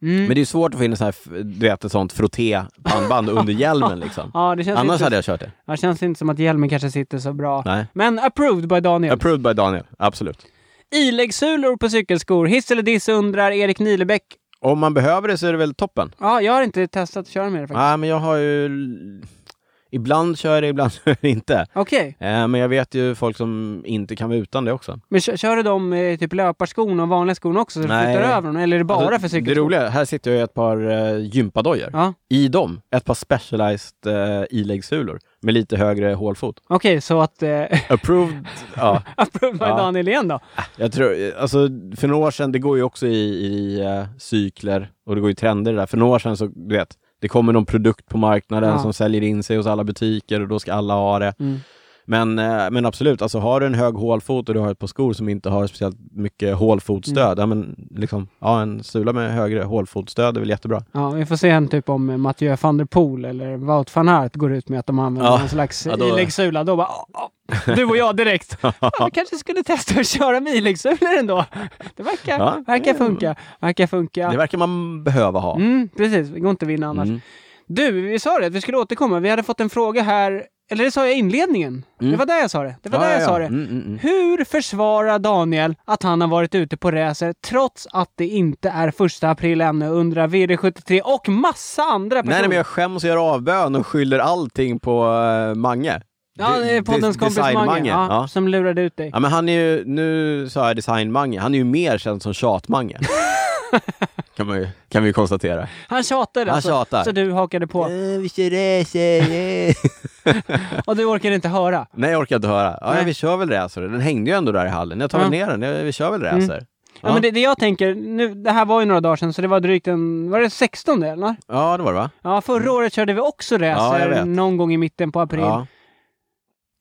B: Mm.
A: Men det är ju svårt att få in en sån här, f- du vet, ett sånt frotté-pannband under hjälmen liksom.
B: Ja, det känns,
A: Annars
B: inte,
A: hade jag kört det.
B: ja, det känns inte som att hjälmen kanske sitter så bra.
A: Nej.
B: Men approved by Daniel.
A: Approved by Daniel, absolut.
B: Iläggssulor på cykelskor. Hiss eller diss undrar Erik Nilebäck.
A: Om man behöver det så är det väl toppen.
B: Ja, jag har inte testat att köra med det faktiskt.
A: Nej, men jag har ju Ibland kör jag det, ibland kör jag det inte.
B: Okej,
A: Eh, men jag vet ju folk som inte kan vara utan det också.
B: men kö- kör du de eh, typ löparskon och vanliga skon också så du
A: Nej.
B: flyttar över dem? Eller är det bara
A: Alltså,
B: för
A: Det
B: cykelskor?
A: roliga, här sitter jag i ett par eh, gympadojor.
B: Ja,
A: I dem, ett par specialized eh, iläggssulor med lite högre hålfot.
B: okej, så att... Eh,
A: Approved, ja.
B: approve by
A: Ja.
B: Daniel igen då.
A: Jag tror, alltså, för några år sedan, det går ju också i, i eh, cykler och det går ju trender i det där. För några år sedan så, du vet, det kommer någon produkt på marknaden
B: Ja.
A: som säljer in sig hos alla butiker och då ska alla ha det.
B: Mm.
A: Men, eh, men absolut, alltså har du en hög hålfot och du har ett par skor som inte har speciellt mycket
B: Mm.
A: hålfotstöd, ja, men liksom, ja, en sula med högre hålfotstöd är väl jättebra.
B: Ja, vi får se en typ om eh, Mathieu van der Poel eller Wout van Aert går ut med att de använder
A: Ja,
B: någon slags
A: ja, då-
B: iläggssula. Då bara... "Ah, ah." Du och jag direkt. Fan, Jag kanske skulle testa att köra med iläggssulor ändå. Det verkar,
A: Ja.
B: verkar funka. Verkar funka.
A: Det verkar man behöva ha.
B: Mm, precis, det går inte att vinna annars.
A: Mm.
B: Du, vi sa det att vi skulle återkomma. Vi hade fått en fråga här, eller det sa jag i inledningen.
A: Mm.
B: Det var där jag sa det. Det var
A: Ja,
B: där jag
A: ja,
B: sa
A: ja.
B: det.
A: Mm, mm, mm.
B: Hur försvarar Daniel att han har varit ute på racer trots att det inte är första april ännu, undrar VD73 och massa andra personer.
A: Nej, nej, men jag skäms och gör avbön och skyller allting på eh, Mange.
B: Ja, det är poddens kompis Mange, ja,
A: Ja.
B: som lurade ut dig.
A: Ja, men han är ju, nu sa jag design-Mange, han är ju mer känd som tjat-Mange. kan, man ju, kan vi ju konstatera.
B: Han tjatade
A: Han
B: alltså,
A: tjatar.
B: så du hakade på.
A: vi kör racer,
B: Och du orkade inte höra.
A: Nej, jag orkar inte höra. Ja,
B: Nej.
A: vi kör väl racer. Den hängde ju ändå där i hallen. Jag tar väl ner den. Ja, Vi kör väl racer.
B: Ja,
A: Ja.
B: men det, det jag tänker, nu, det här var ju några dagar sedan, så det var drygt en, var det 16 eller?
A: Ja, det var det va?
B: Ja, förra året körde vi också
A: Ja, jag
B: racer
A: vet.
B: någon gång i mitten på april.
A: Ja.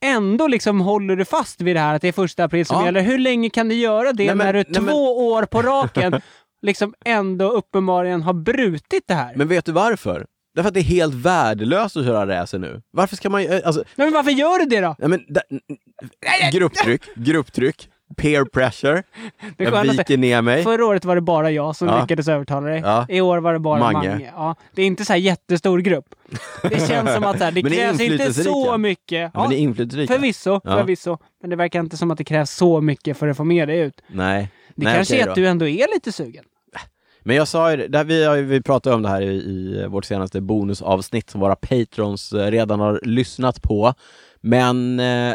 B: Ändå liksom håller du fast vid det här att det är första april som
A: Ja.
B: gäller. Hur länge kan du göra det
A: Nej, men-
B: när du
A: nej,
B: två
A: men-
B: år på raken liksom ändå uppenbarligen har brutit det här?
A: Men vet du varför? Därför att det är helt värdelöst att köra racer nu. Varför ska man... ju- Alltså,
B: Nej, men varför gör du det då?
A: Nej, men, där- grupptryck, grupptryck, peer pressure.
B: Det är
A: Jag
B: skönt att
A: viker ner mig.
B: Förra året var det bara jag som
A: Ja.
B: lyckades övertala dig.
A: Ja.
B: I år var det bara Mange.
A: Mange.
B: Ja. Det är inte så här jättestor grupp. Det känns som att så här, det
A: Men ni är
B: krävs inte så
A: inflytelserika.
B: mycket.
A: Ja, men ni är
B: Ja,
A: inflytelserika.
B: förvisso,
A: Ja.
B: förvisso. Men det verkar inte som att det krävs så mycket för att få med dig ut.
A: Nej.
B: Det
A: Nej,
B: kanske
A: okej
B: är att
A: då.
B: du ändå är lite sugen.
A: Men jag sa ju det, det här, vi, har ju- vi pratade om det här i, i vårt senaste bonusavsnitt som våra patrons eh, redan har lyssnat på. Men eh,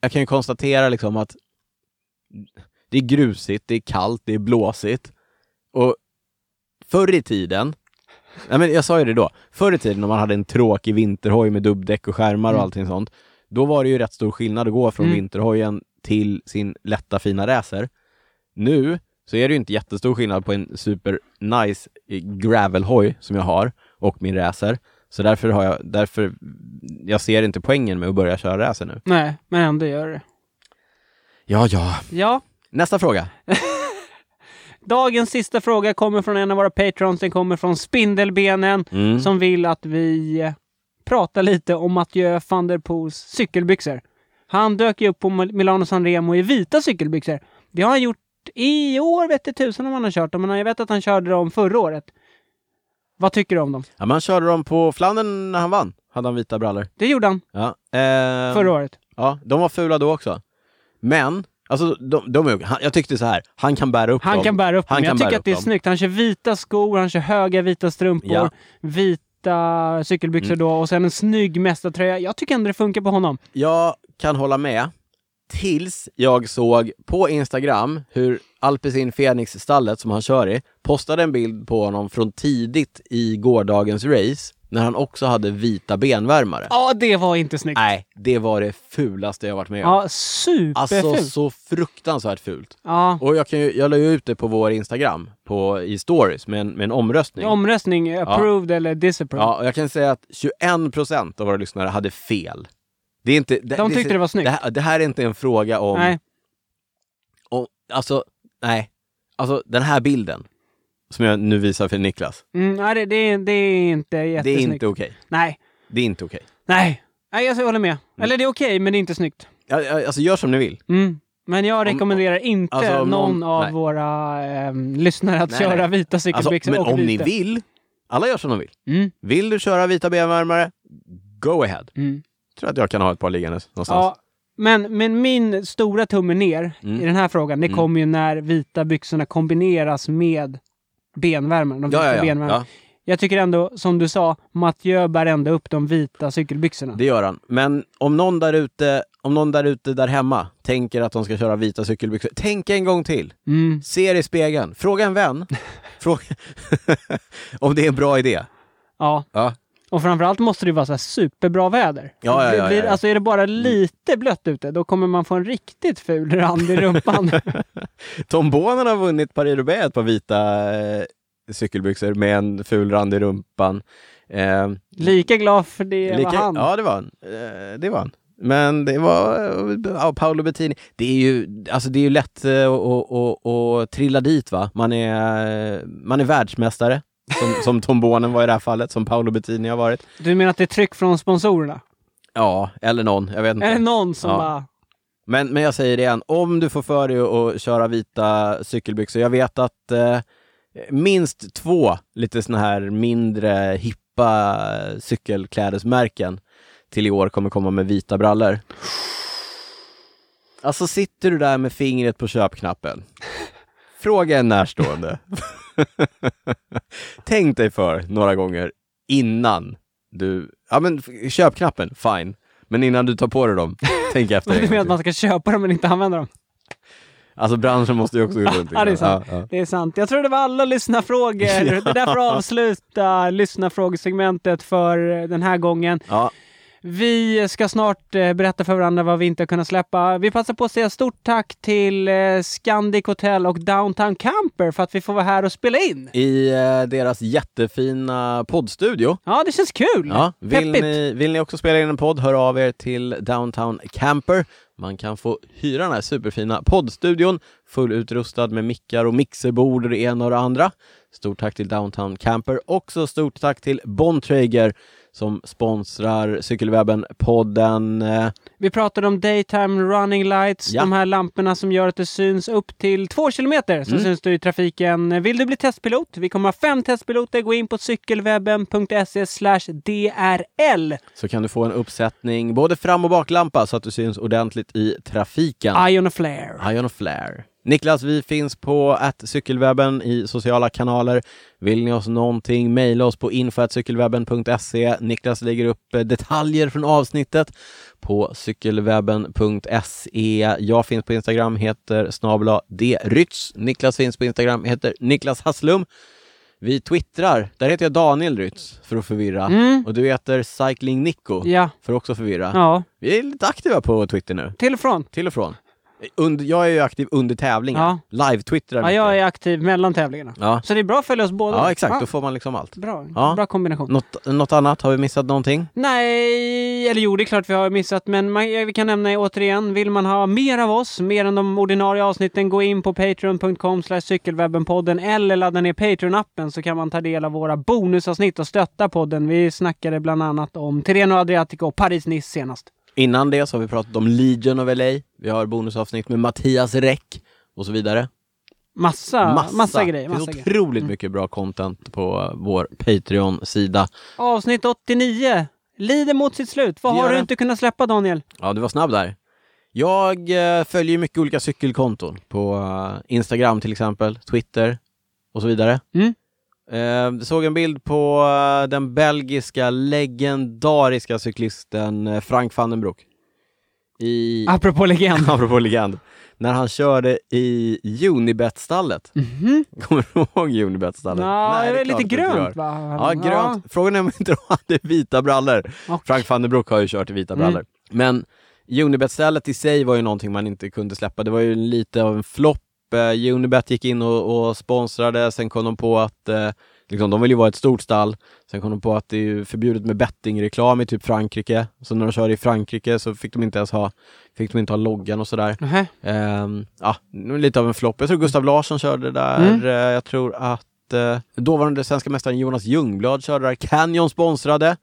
A: jag kan ju konstatera liksom att det är grusigt, det är kallt, det är blåsigt. Och förr i tiden, nej men jag sa ju det då, förr i tiden när man hade en tråkig vinterhoj med dubbdäck och skärmar och
B: Mm.
A: allting sånt, då var det ju rätt stor skillnad att gå från
B: Mm.
A: vinterhojen till sin lätta fina racer. Nu så är det ju inte jättestor skillnad på en super nice eh, gravelhoj som jag har och min racer. Så därför har jag, därför, jag ser inte poängen med att börja köra racer nu.
B: Nej, men ändå gör du det.
A: Ja, ja.
B: Ja,
A: Nästa fråga.
B: Dagens sista fråga kommer från en av våra patrons. Den kommer från Spindelbenen
A: Mm.
B: som vill att vi eh, pratar lite om Mathieu van der Poels cykelbyxor. Han dök ju upp på Mil- Milano Sanremo i vita cykelbyxor. Det har han gjort i år vet det tusen om han har kört dem, men jag vet att han körde dem förra året. Vad tycker du om dem?
A: Ja, man körde dem på Flandern när han vann. Hade han vita brallor.
B: Det gjorde han
A: Ja. Ehm,
B: förra året.
A: Ja, de var fula då också. Men, alltså, de, de, är- han- jag tyckte så här, han kan bära upp
B: Han
A: dem.
B: kan bära upp
A: Han
B: dem. Jag
A: kan
B: tycker
A: bära
B: att det är
A: upp dem.
B: snyggt. Han kör vita skor, han kör höga vita strumpor,
A: Ja. Mm.
B: vita cykelbyxor då och sen en snygg mästartröja. Jag tycker ändå det funkar på honom.
A: Jag kan hålla med. Tills jag såg på Instagram hur Alpecin Fenix-stallet som han kör i postade en bild på honom från tidigt i gårdagens race när han också hade vita benvärmare.
B: Ja, det var inte snyggt.
A: Nej, det var det fulaste jag varit med om.
B: Ja, superfult.
A: alltså så fruktansvärt fult.
B: ja.
A: Och jag, kan ju, jag la ju ut det på vår Instagram på, i stories med en, med en omröstning.
B: Omröstning, approved eller disapproved.
A: Ja, och jag kan säga att 21 procent av våra lyssnare hade fel. Det är inte, det,
B: De tyckte det var snyggt.
A: Det här, det här är inte en fråga om...
B: Nej.
A: om alltså, nej. Alltså, den här bilden som jag nu visar för Niklas,
B: Mm, nej, det, det, är- det är inte
A: det är
B: jättesnyggt.
A: inte okej.
B: Nej,
A: Det är inte okej.
B: nej. Nej, jag håller med.
A: Mm.
B: Eller det är okej, men det är inte snyggt.
A: Ja, ja, Alltså, gör som ni vill.
B: Mm. Men jag rekommenderar inte
A: alltså, om
B: någon
A: någon-
B: av
A: nej.
B: våra ehm, lyssnare att
A: Nej,
B: köra
A: nej.
B: vita
A: Alltså,
B: cykelbyxor
A: men
B: och
A: om ni
B: vita.
A: vill, alla gör som de vill.
B: Mm.
A: Vill du köra vita benvärmare, go ahead.
B: Mm.
A: Tror att jag kan ha ett par liggandes någonstans.
B: Ja, men, men min stora tumme ner
A: Mm.
B: i den här frågan, det kommer ju när vita byxorna kombineras med benvärmaren. De vita
A: ja, ja.
B: benvärmarna.
A: ja.
B: Jag tycker ändå, som du sa, Mathieu bär ändå upp de vita cykelbyxorna.
A: Det gör han. Men om någon där ute, om någon där ute där hemma tänker att de ska köra vita cykelbyxor, tänk en gång till.
B: Mm.
A: Se er i spegeln. Fråga en vän. Fråga... om det är en bra idé.
B: Ja,
A: Ja.
B: och framförallt måste det ju vara så här superbra väder.
A: Ja, ja,
B: Det
A: ja,
B: blir,
A: ja, Mm. ja.
B: Alltså är det bara lite blött ute, då kommer man få en riktigt ful rand i rumpan.
A: Tom Bonan har vunnit Paris-Roubaix ett par vita eh, cykelbyxor med en ful rand i rumpan. Eh,
B: Lika glad för det var han.
A: Ja, det var han. Eh, det var han. Men det var eh, ja, Paolo Bettini. Det är ju, alltså det är ju lätt eh, att att- att trilla dit va. Man är, eh, man är världsmästare. Som, som Tom Bonen var i det här fallet, som Paolo Bettini har varit.
B: Du menar att det är tryck från sponsorerna?
A: Ja, eller någon. Jag vet inte.
B: Är det någon som
A: Ja.
B: bara...
A: Men, men jag säger det igen, om du får för dig att köra vita cykelbyxor, jag vet att eh, minst två lite såna här mindre hippa cykelklädesmärken till i år kommer komma med vita brallor. Alltså sitter du där med fingret på köpknappen, fråga en närstående. Tänk dig för några gånger innan du, ja men f- köpknappen, fine, men innan du tar på dig dem, tänk efter. en
B: Du
A: gång
B: menar att
A: till.
B: man ska köpa dem men inte använda dem?
A: Alltså branschen måste ju också gå runt.
B: Ja, det är sant. Det är sant. Jag tror det var alla lyssnarfrågor. Det är därför att avsluta lyssnarfrågesegmentet för eh, den här gången.
A: Ja,
B: Vi ska snart eh, berätta för varandra vad vi inte har kunnat släppa. Vi passar på att säga stort tack till eh, Scandic Hotel och Downtown Camper för att vi får vara här och spela in.
A: I eh, deras jättefina poddstudio.
B: Ja, det känns kul!
A: Ja, vill,
B: Mm. Peppigt!
A: ni, vill ni också spela in en podd, hör av er till Downtown Camper. Man kan få hyra den här superfina poddstudion, fullutrustad med mickar och mixerbord och det ena och det andra. Stort tack till Downtown Camper. Också stort tack till Bontrager som sponsrar Cykelwebben-podden. Eh,
B: Vi pratade om daytime running lights,
A: Ja.
B: de här lamporna som gör att det syns upp till två kilometer. Så
A: Mm.
B: syns du i trafiken. Vill du bli testpilot? Vi kommer ha fem testpiloter. Gå in på cykelwebben.se slash DRL.
A: Så kan du få en uppsättning både fram och baklampa så att du syns ordentligt i trafiken.
B: Ion och flare.
A: Ion och Flair. Niklas, vi finns på cykelwebben i sociala kanaler. Vill ni oss någonting, mejla oss på info.cykelwebben.se. Niklas lägger upp eh, detaljer från avsnittet på cykelwebben.se. Jag finns på Instagram, heter snabla drytz. Niklas finns på Instagram, heter Niklas Hasslum. Vi twittrar, där heter jag Daniel Rytz för att förvirra. Och du heter Cycling Nico
B: Mm. Ja.
A: för att också förvirra.
B: Ja,
A: Vi är lite aktiva på Twitter nu
B: till och från.
A: till och från. Under, jag är ju aktiv under tävlingen.
B: Ja.
A: Live-twittrar
B: Ja,
A: mycket.
B: jag är aktiv mellan tävlingarna.
A: ja.
B: Så det är bra att följa oss båda.
A: ja, exakt.
B: Ah,
A: Då får man liksom allt.
B: Bra,
A: Ja.
B: bra kombination.
A: Något, något annat? Har vi missat någonting?
B: Nej, eller jo, det är klart vi har missat, men man, ja, vi kan nämna återigen, vill man ha mer av oss, mer än de ordinarie avsnitten, gå in på patreon.com slash cykelwebbenpodden eller ladda ner Patreon-appen så kan man ta del av våra bonusavsnitt och stötta podden. Vi snackade bland annat om Tirreno Adriatico och Paris-Nice senast.
A: Innan det så har vi pratat om Legion of LA. Vi har bonusavsnitt med Mattias Räck och så vidare.
B: Massa, massa, grejer.
A: Det finns
B: Massa grejer. Mm.
A: otroligt mycket bra content på vår Patreon-sida.
B: Avsnitt 89 lider mot sitt slut. Vad
A: Det
B: har
A: gör
B: du
A: det.
B: inte kunnat släppa, Daniel?
A: Ja, du var snabb där. Jag eh, följer ju mycket olika cykelkonton på eh, Instagram till exempel, Twitter och så vidare.
B: Mm.
A: Eh, såg en bild på eh, den belgiska legendariska cyklisten eh, Frank van den Broek. I,
B: Apropå legend.
A: apropå legend, när han körde i Unibet-stallet.
B: Mhm.
A: Kommer du ihåg Unibet-stallet?
B: Ja,
A: Nej,
B: det är
A: klart
B: lite
A: att du gör.
B: grönt va?
A: Ja, grönt. Frågan är om inte de hade vita brallor.
B: Och-
A: Frank van den Broek har ju kört i vita
B: Mm.
A: brallor. Men Unibet-stället i sig var ju någonting man inte kunde släppa. Det var ju lite av en flopp. Eh, Unibet gick in och, och sponsrade, sen kom de på att eh, liksom, de vill ju vara ett stort stall. Sen kom de på att det är ju förbjudet med bettingreklam i typ Frankrike. Så när de körde i Frankrike så fick de inte ens ha, fick de inte ha loggan och sådär.
B: Nähä.
A: Ehm, ja, nu lite av en flopp. Jag tror Gustav Larsson körde där.
B: Mm.
A: Eh, jag tror att eh, dåvarande svenska mästaren Jonas Ljungblad körde där. Canyon sponsrade.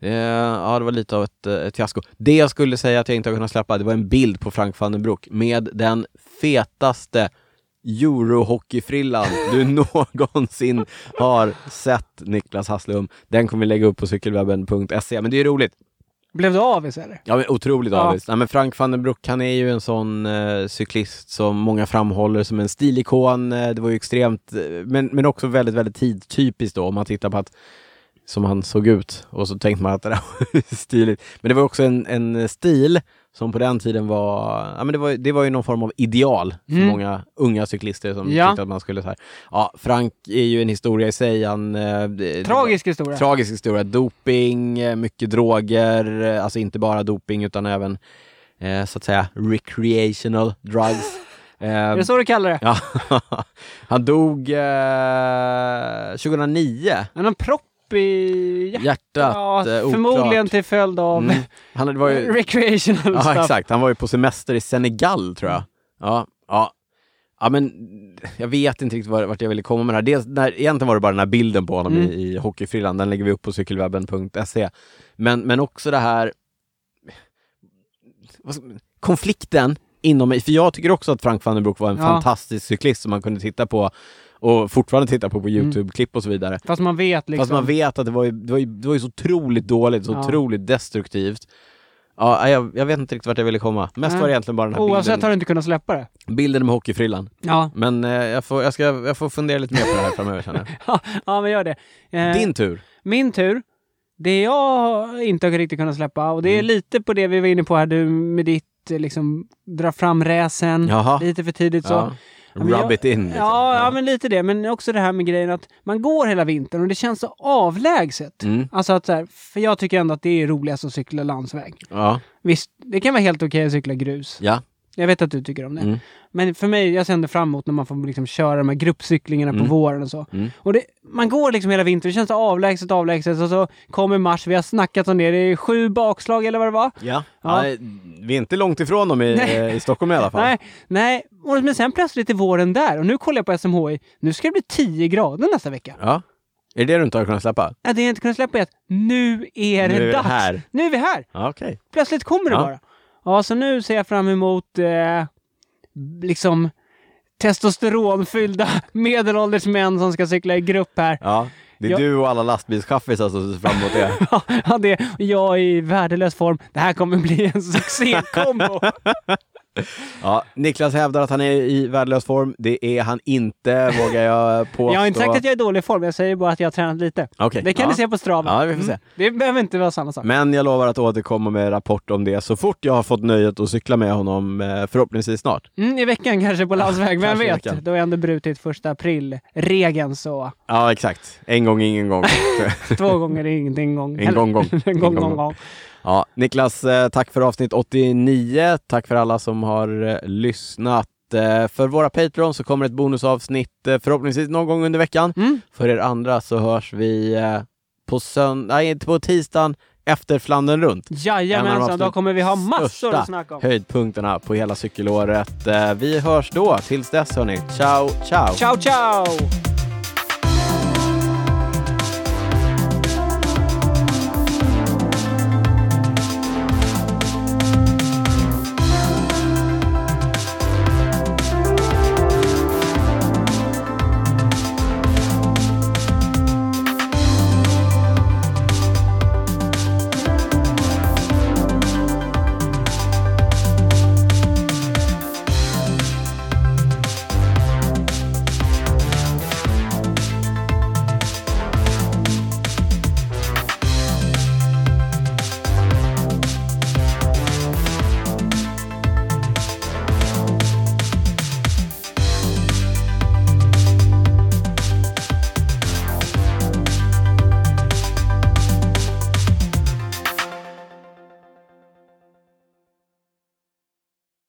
A: Eh, ja, det var lite av ett, eh, ett fiasko. Det jag skulle säga att jag inte har kunnat släppa, det var en bild på Frank van den Broek med den fetaste Eurohockeyfrillan du någonsin har sett Niklas Hasslum. Den kommer vi lägga upp på cykelwebben.se. Men det är roligt.
B: Blev du avis eller?
A: Ja, men otroligt
B: Ja.
A: avis. Nej, men Frank van den Broek, han är ju en sån eh, cyklist som många framhåller som en stilikon. Eh, det var ju extremt, eh, men, men också väldigt, väldigt tidtypiskt då om man tittar på att som han såg ut och så tänkte man att det där var stiligt. Men det var också en, en stil som på den tiden var, ja, men det, var det var ju någon form av ideal för
B: Mm.
A: många unga cyklister som
B: Ja.
A: tyckte att man skulle så här. Ja, Frank är ju en historia i sig. Han, eh, det-
B: Tragisk historia.
A: Tragisk historia. Doping, eh, mycket droger, eh, alltså inte bara doping utan även eh, så att säga recreational drugs.
B: är
A: Eh,
B: det så du kallar det?
A: ja. Han dog eh, 2009.
B: Men en propp i hjärtat?
A: Hjärtat, eh, oklart.
B: förmodligen till följd av
A: Mm. Han det var ju,
B: recreational
A: ja,
B: stuff.
A: exakt. Han var ju på semester i Senegal tror jag. Ja, ja. Ja, men jag vet inte riktigt var- vart jag ville komma med det här. Dels, när, egentligen var det bara den här bilden på honom
B: Mm.
A: i, i hockeyfrillan. Den lägger vi upp på cykelwebben.se. Men, men också det här vad ska- konflikten inom mig. För jag tycker också att Frank van den Broek var en
B: Ja.
A: fantastisk cyklist som man kunde titta på och fortfarande titta på på
B: Mm.
A: YouTube-klipp och så vidare.
B: Fast man vet liksom.
A: Fast man vet att det var ju, det var ju, det var ju så otroligt dåligt, så
B: Ja.
A: otroligt destruktivt. Ja, nej, jag, jag vet inte riktigt vart jag ville komma. Mest
B: Nej.
A: var det egentligen bara den här
B: Oavsett har
A: bilden,
B: du inte kunnat släppa det.
A: bilden med hockeyfrillan.
B: Ja,
A: Men eh, jag, får, jag, ska, jag får fundera lite mer på det här framöver känner
B: ja men gör det. Eh,
A: jag. Din tur.
B: Min tur. Det jag inte har riktigt kunnat släppa, och det är
A: Mm.
B: lite på det vi var inne på här du med ditt eh, liksom dra fram räsen
A: Jaha.
B: lite för tidigt så.
A: Ja.
B: men jag-
A: Rub it in. Liksom.
B: Ja, ja, men lite det. Men också det här med grejen att man går hela vintern och det känns så avlägset.
A: Mm.
B: Alltså att så här, för jag tycker ändå att det är roligast att cykla landsväg.
A: ja.
B: Visst, det kan vara helt okej att cykla grus.
A: ja.
B: Jag vet att du tycker om det.
A: Mm.
B: Men för mig, jag ser ändå fram emot när man får liksom köra de här gruppcyklingarna på
A: Mm.
B: våren och så.
A: Mm.
B: Och det, man går liksom hela vintern, det känns så avlägset, avlägset och så kommer mars, vi har snackat om det, det är sju bakslag eller vad det var.
A: Ja.
B: Ja.
A: Nej, vi är inte långt ifrån dem i,
B: Nej.
A: eh, i Stockholm i alla fall.
B: Nej, nej, Och- men sen plötsligt är våren där och nu kollar jag på SMHI, nu ska det bli 10 grader nästa vecka.
A: Ja. Är det det du inte har kunnat släppa?
B: Ja, det jag inte kunnat släppa är att nu är det
A: Nu är vi
B: dags!
A: här.
B: Nu är vi här!
A: Ja, Okej.
B: Plötsligt kommer det
A: Ja.
B: bara. Ja, så nu ser jag fram emot eh, liksom testosteronfyllda medelålders män som ska cykla i grupp här.
A: Ja. Det är
B: Jag-
A: du och alla lastbilschaffisar som ser fram emot det.
B: Ja, det, jag i värdelös form. Det här kommer bli en succékombo.
A: Ja, Niklas hävdar att han är i värdelös form. Det är han inte, vågar jag påstå.
B: Jag har inte sagt att jag är i dålig form, jag säger bara att jag har tränat lite.
A: Okej,
B: Det kan
A: ja.
B: ni se på Strava. Mm.
A: Ja, vi får se.
B: Det behöver inte vara samma sak.
A: Men jag lovar att återkomma med rapport om det så fort jag har fått nöjet att cykla med honom, eh, förhoppningsvis snart.
B: Mm, I veckan kanske på landsväg, vem
A: kanske i
B: vet?
A: veckan.
B: Då har jag ändå brutit första april-regeln så
A: Ja, exakt. En gång, ingen gång.
B: två gånger är ingenting gång.
A: en gång, gång.
B: en gång, gång, gång.
A: Ja, Niklas, eh, tack för avsnitt 89. Tack för alla som har eh, lyssnat. Eh, För våra Patreons så kommer ett bonusavsnitt eh, förhoppningsvis någon gång under veckan.
B: Mm.
A: För er andra så hörs vi eh, på, sönd- nej, inte på tisdagen efter Flandern runt. En av de
B: Jajamensan, då
A: absolut
B: kommer vi ha massor
A: största
B: att snacka om.
A: höjdpunkterna på hela cykelåret. Eh, Vi hörs då. Tills dess hörni, ciao, ciao!
B: Ciao, ciao!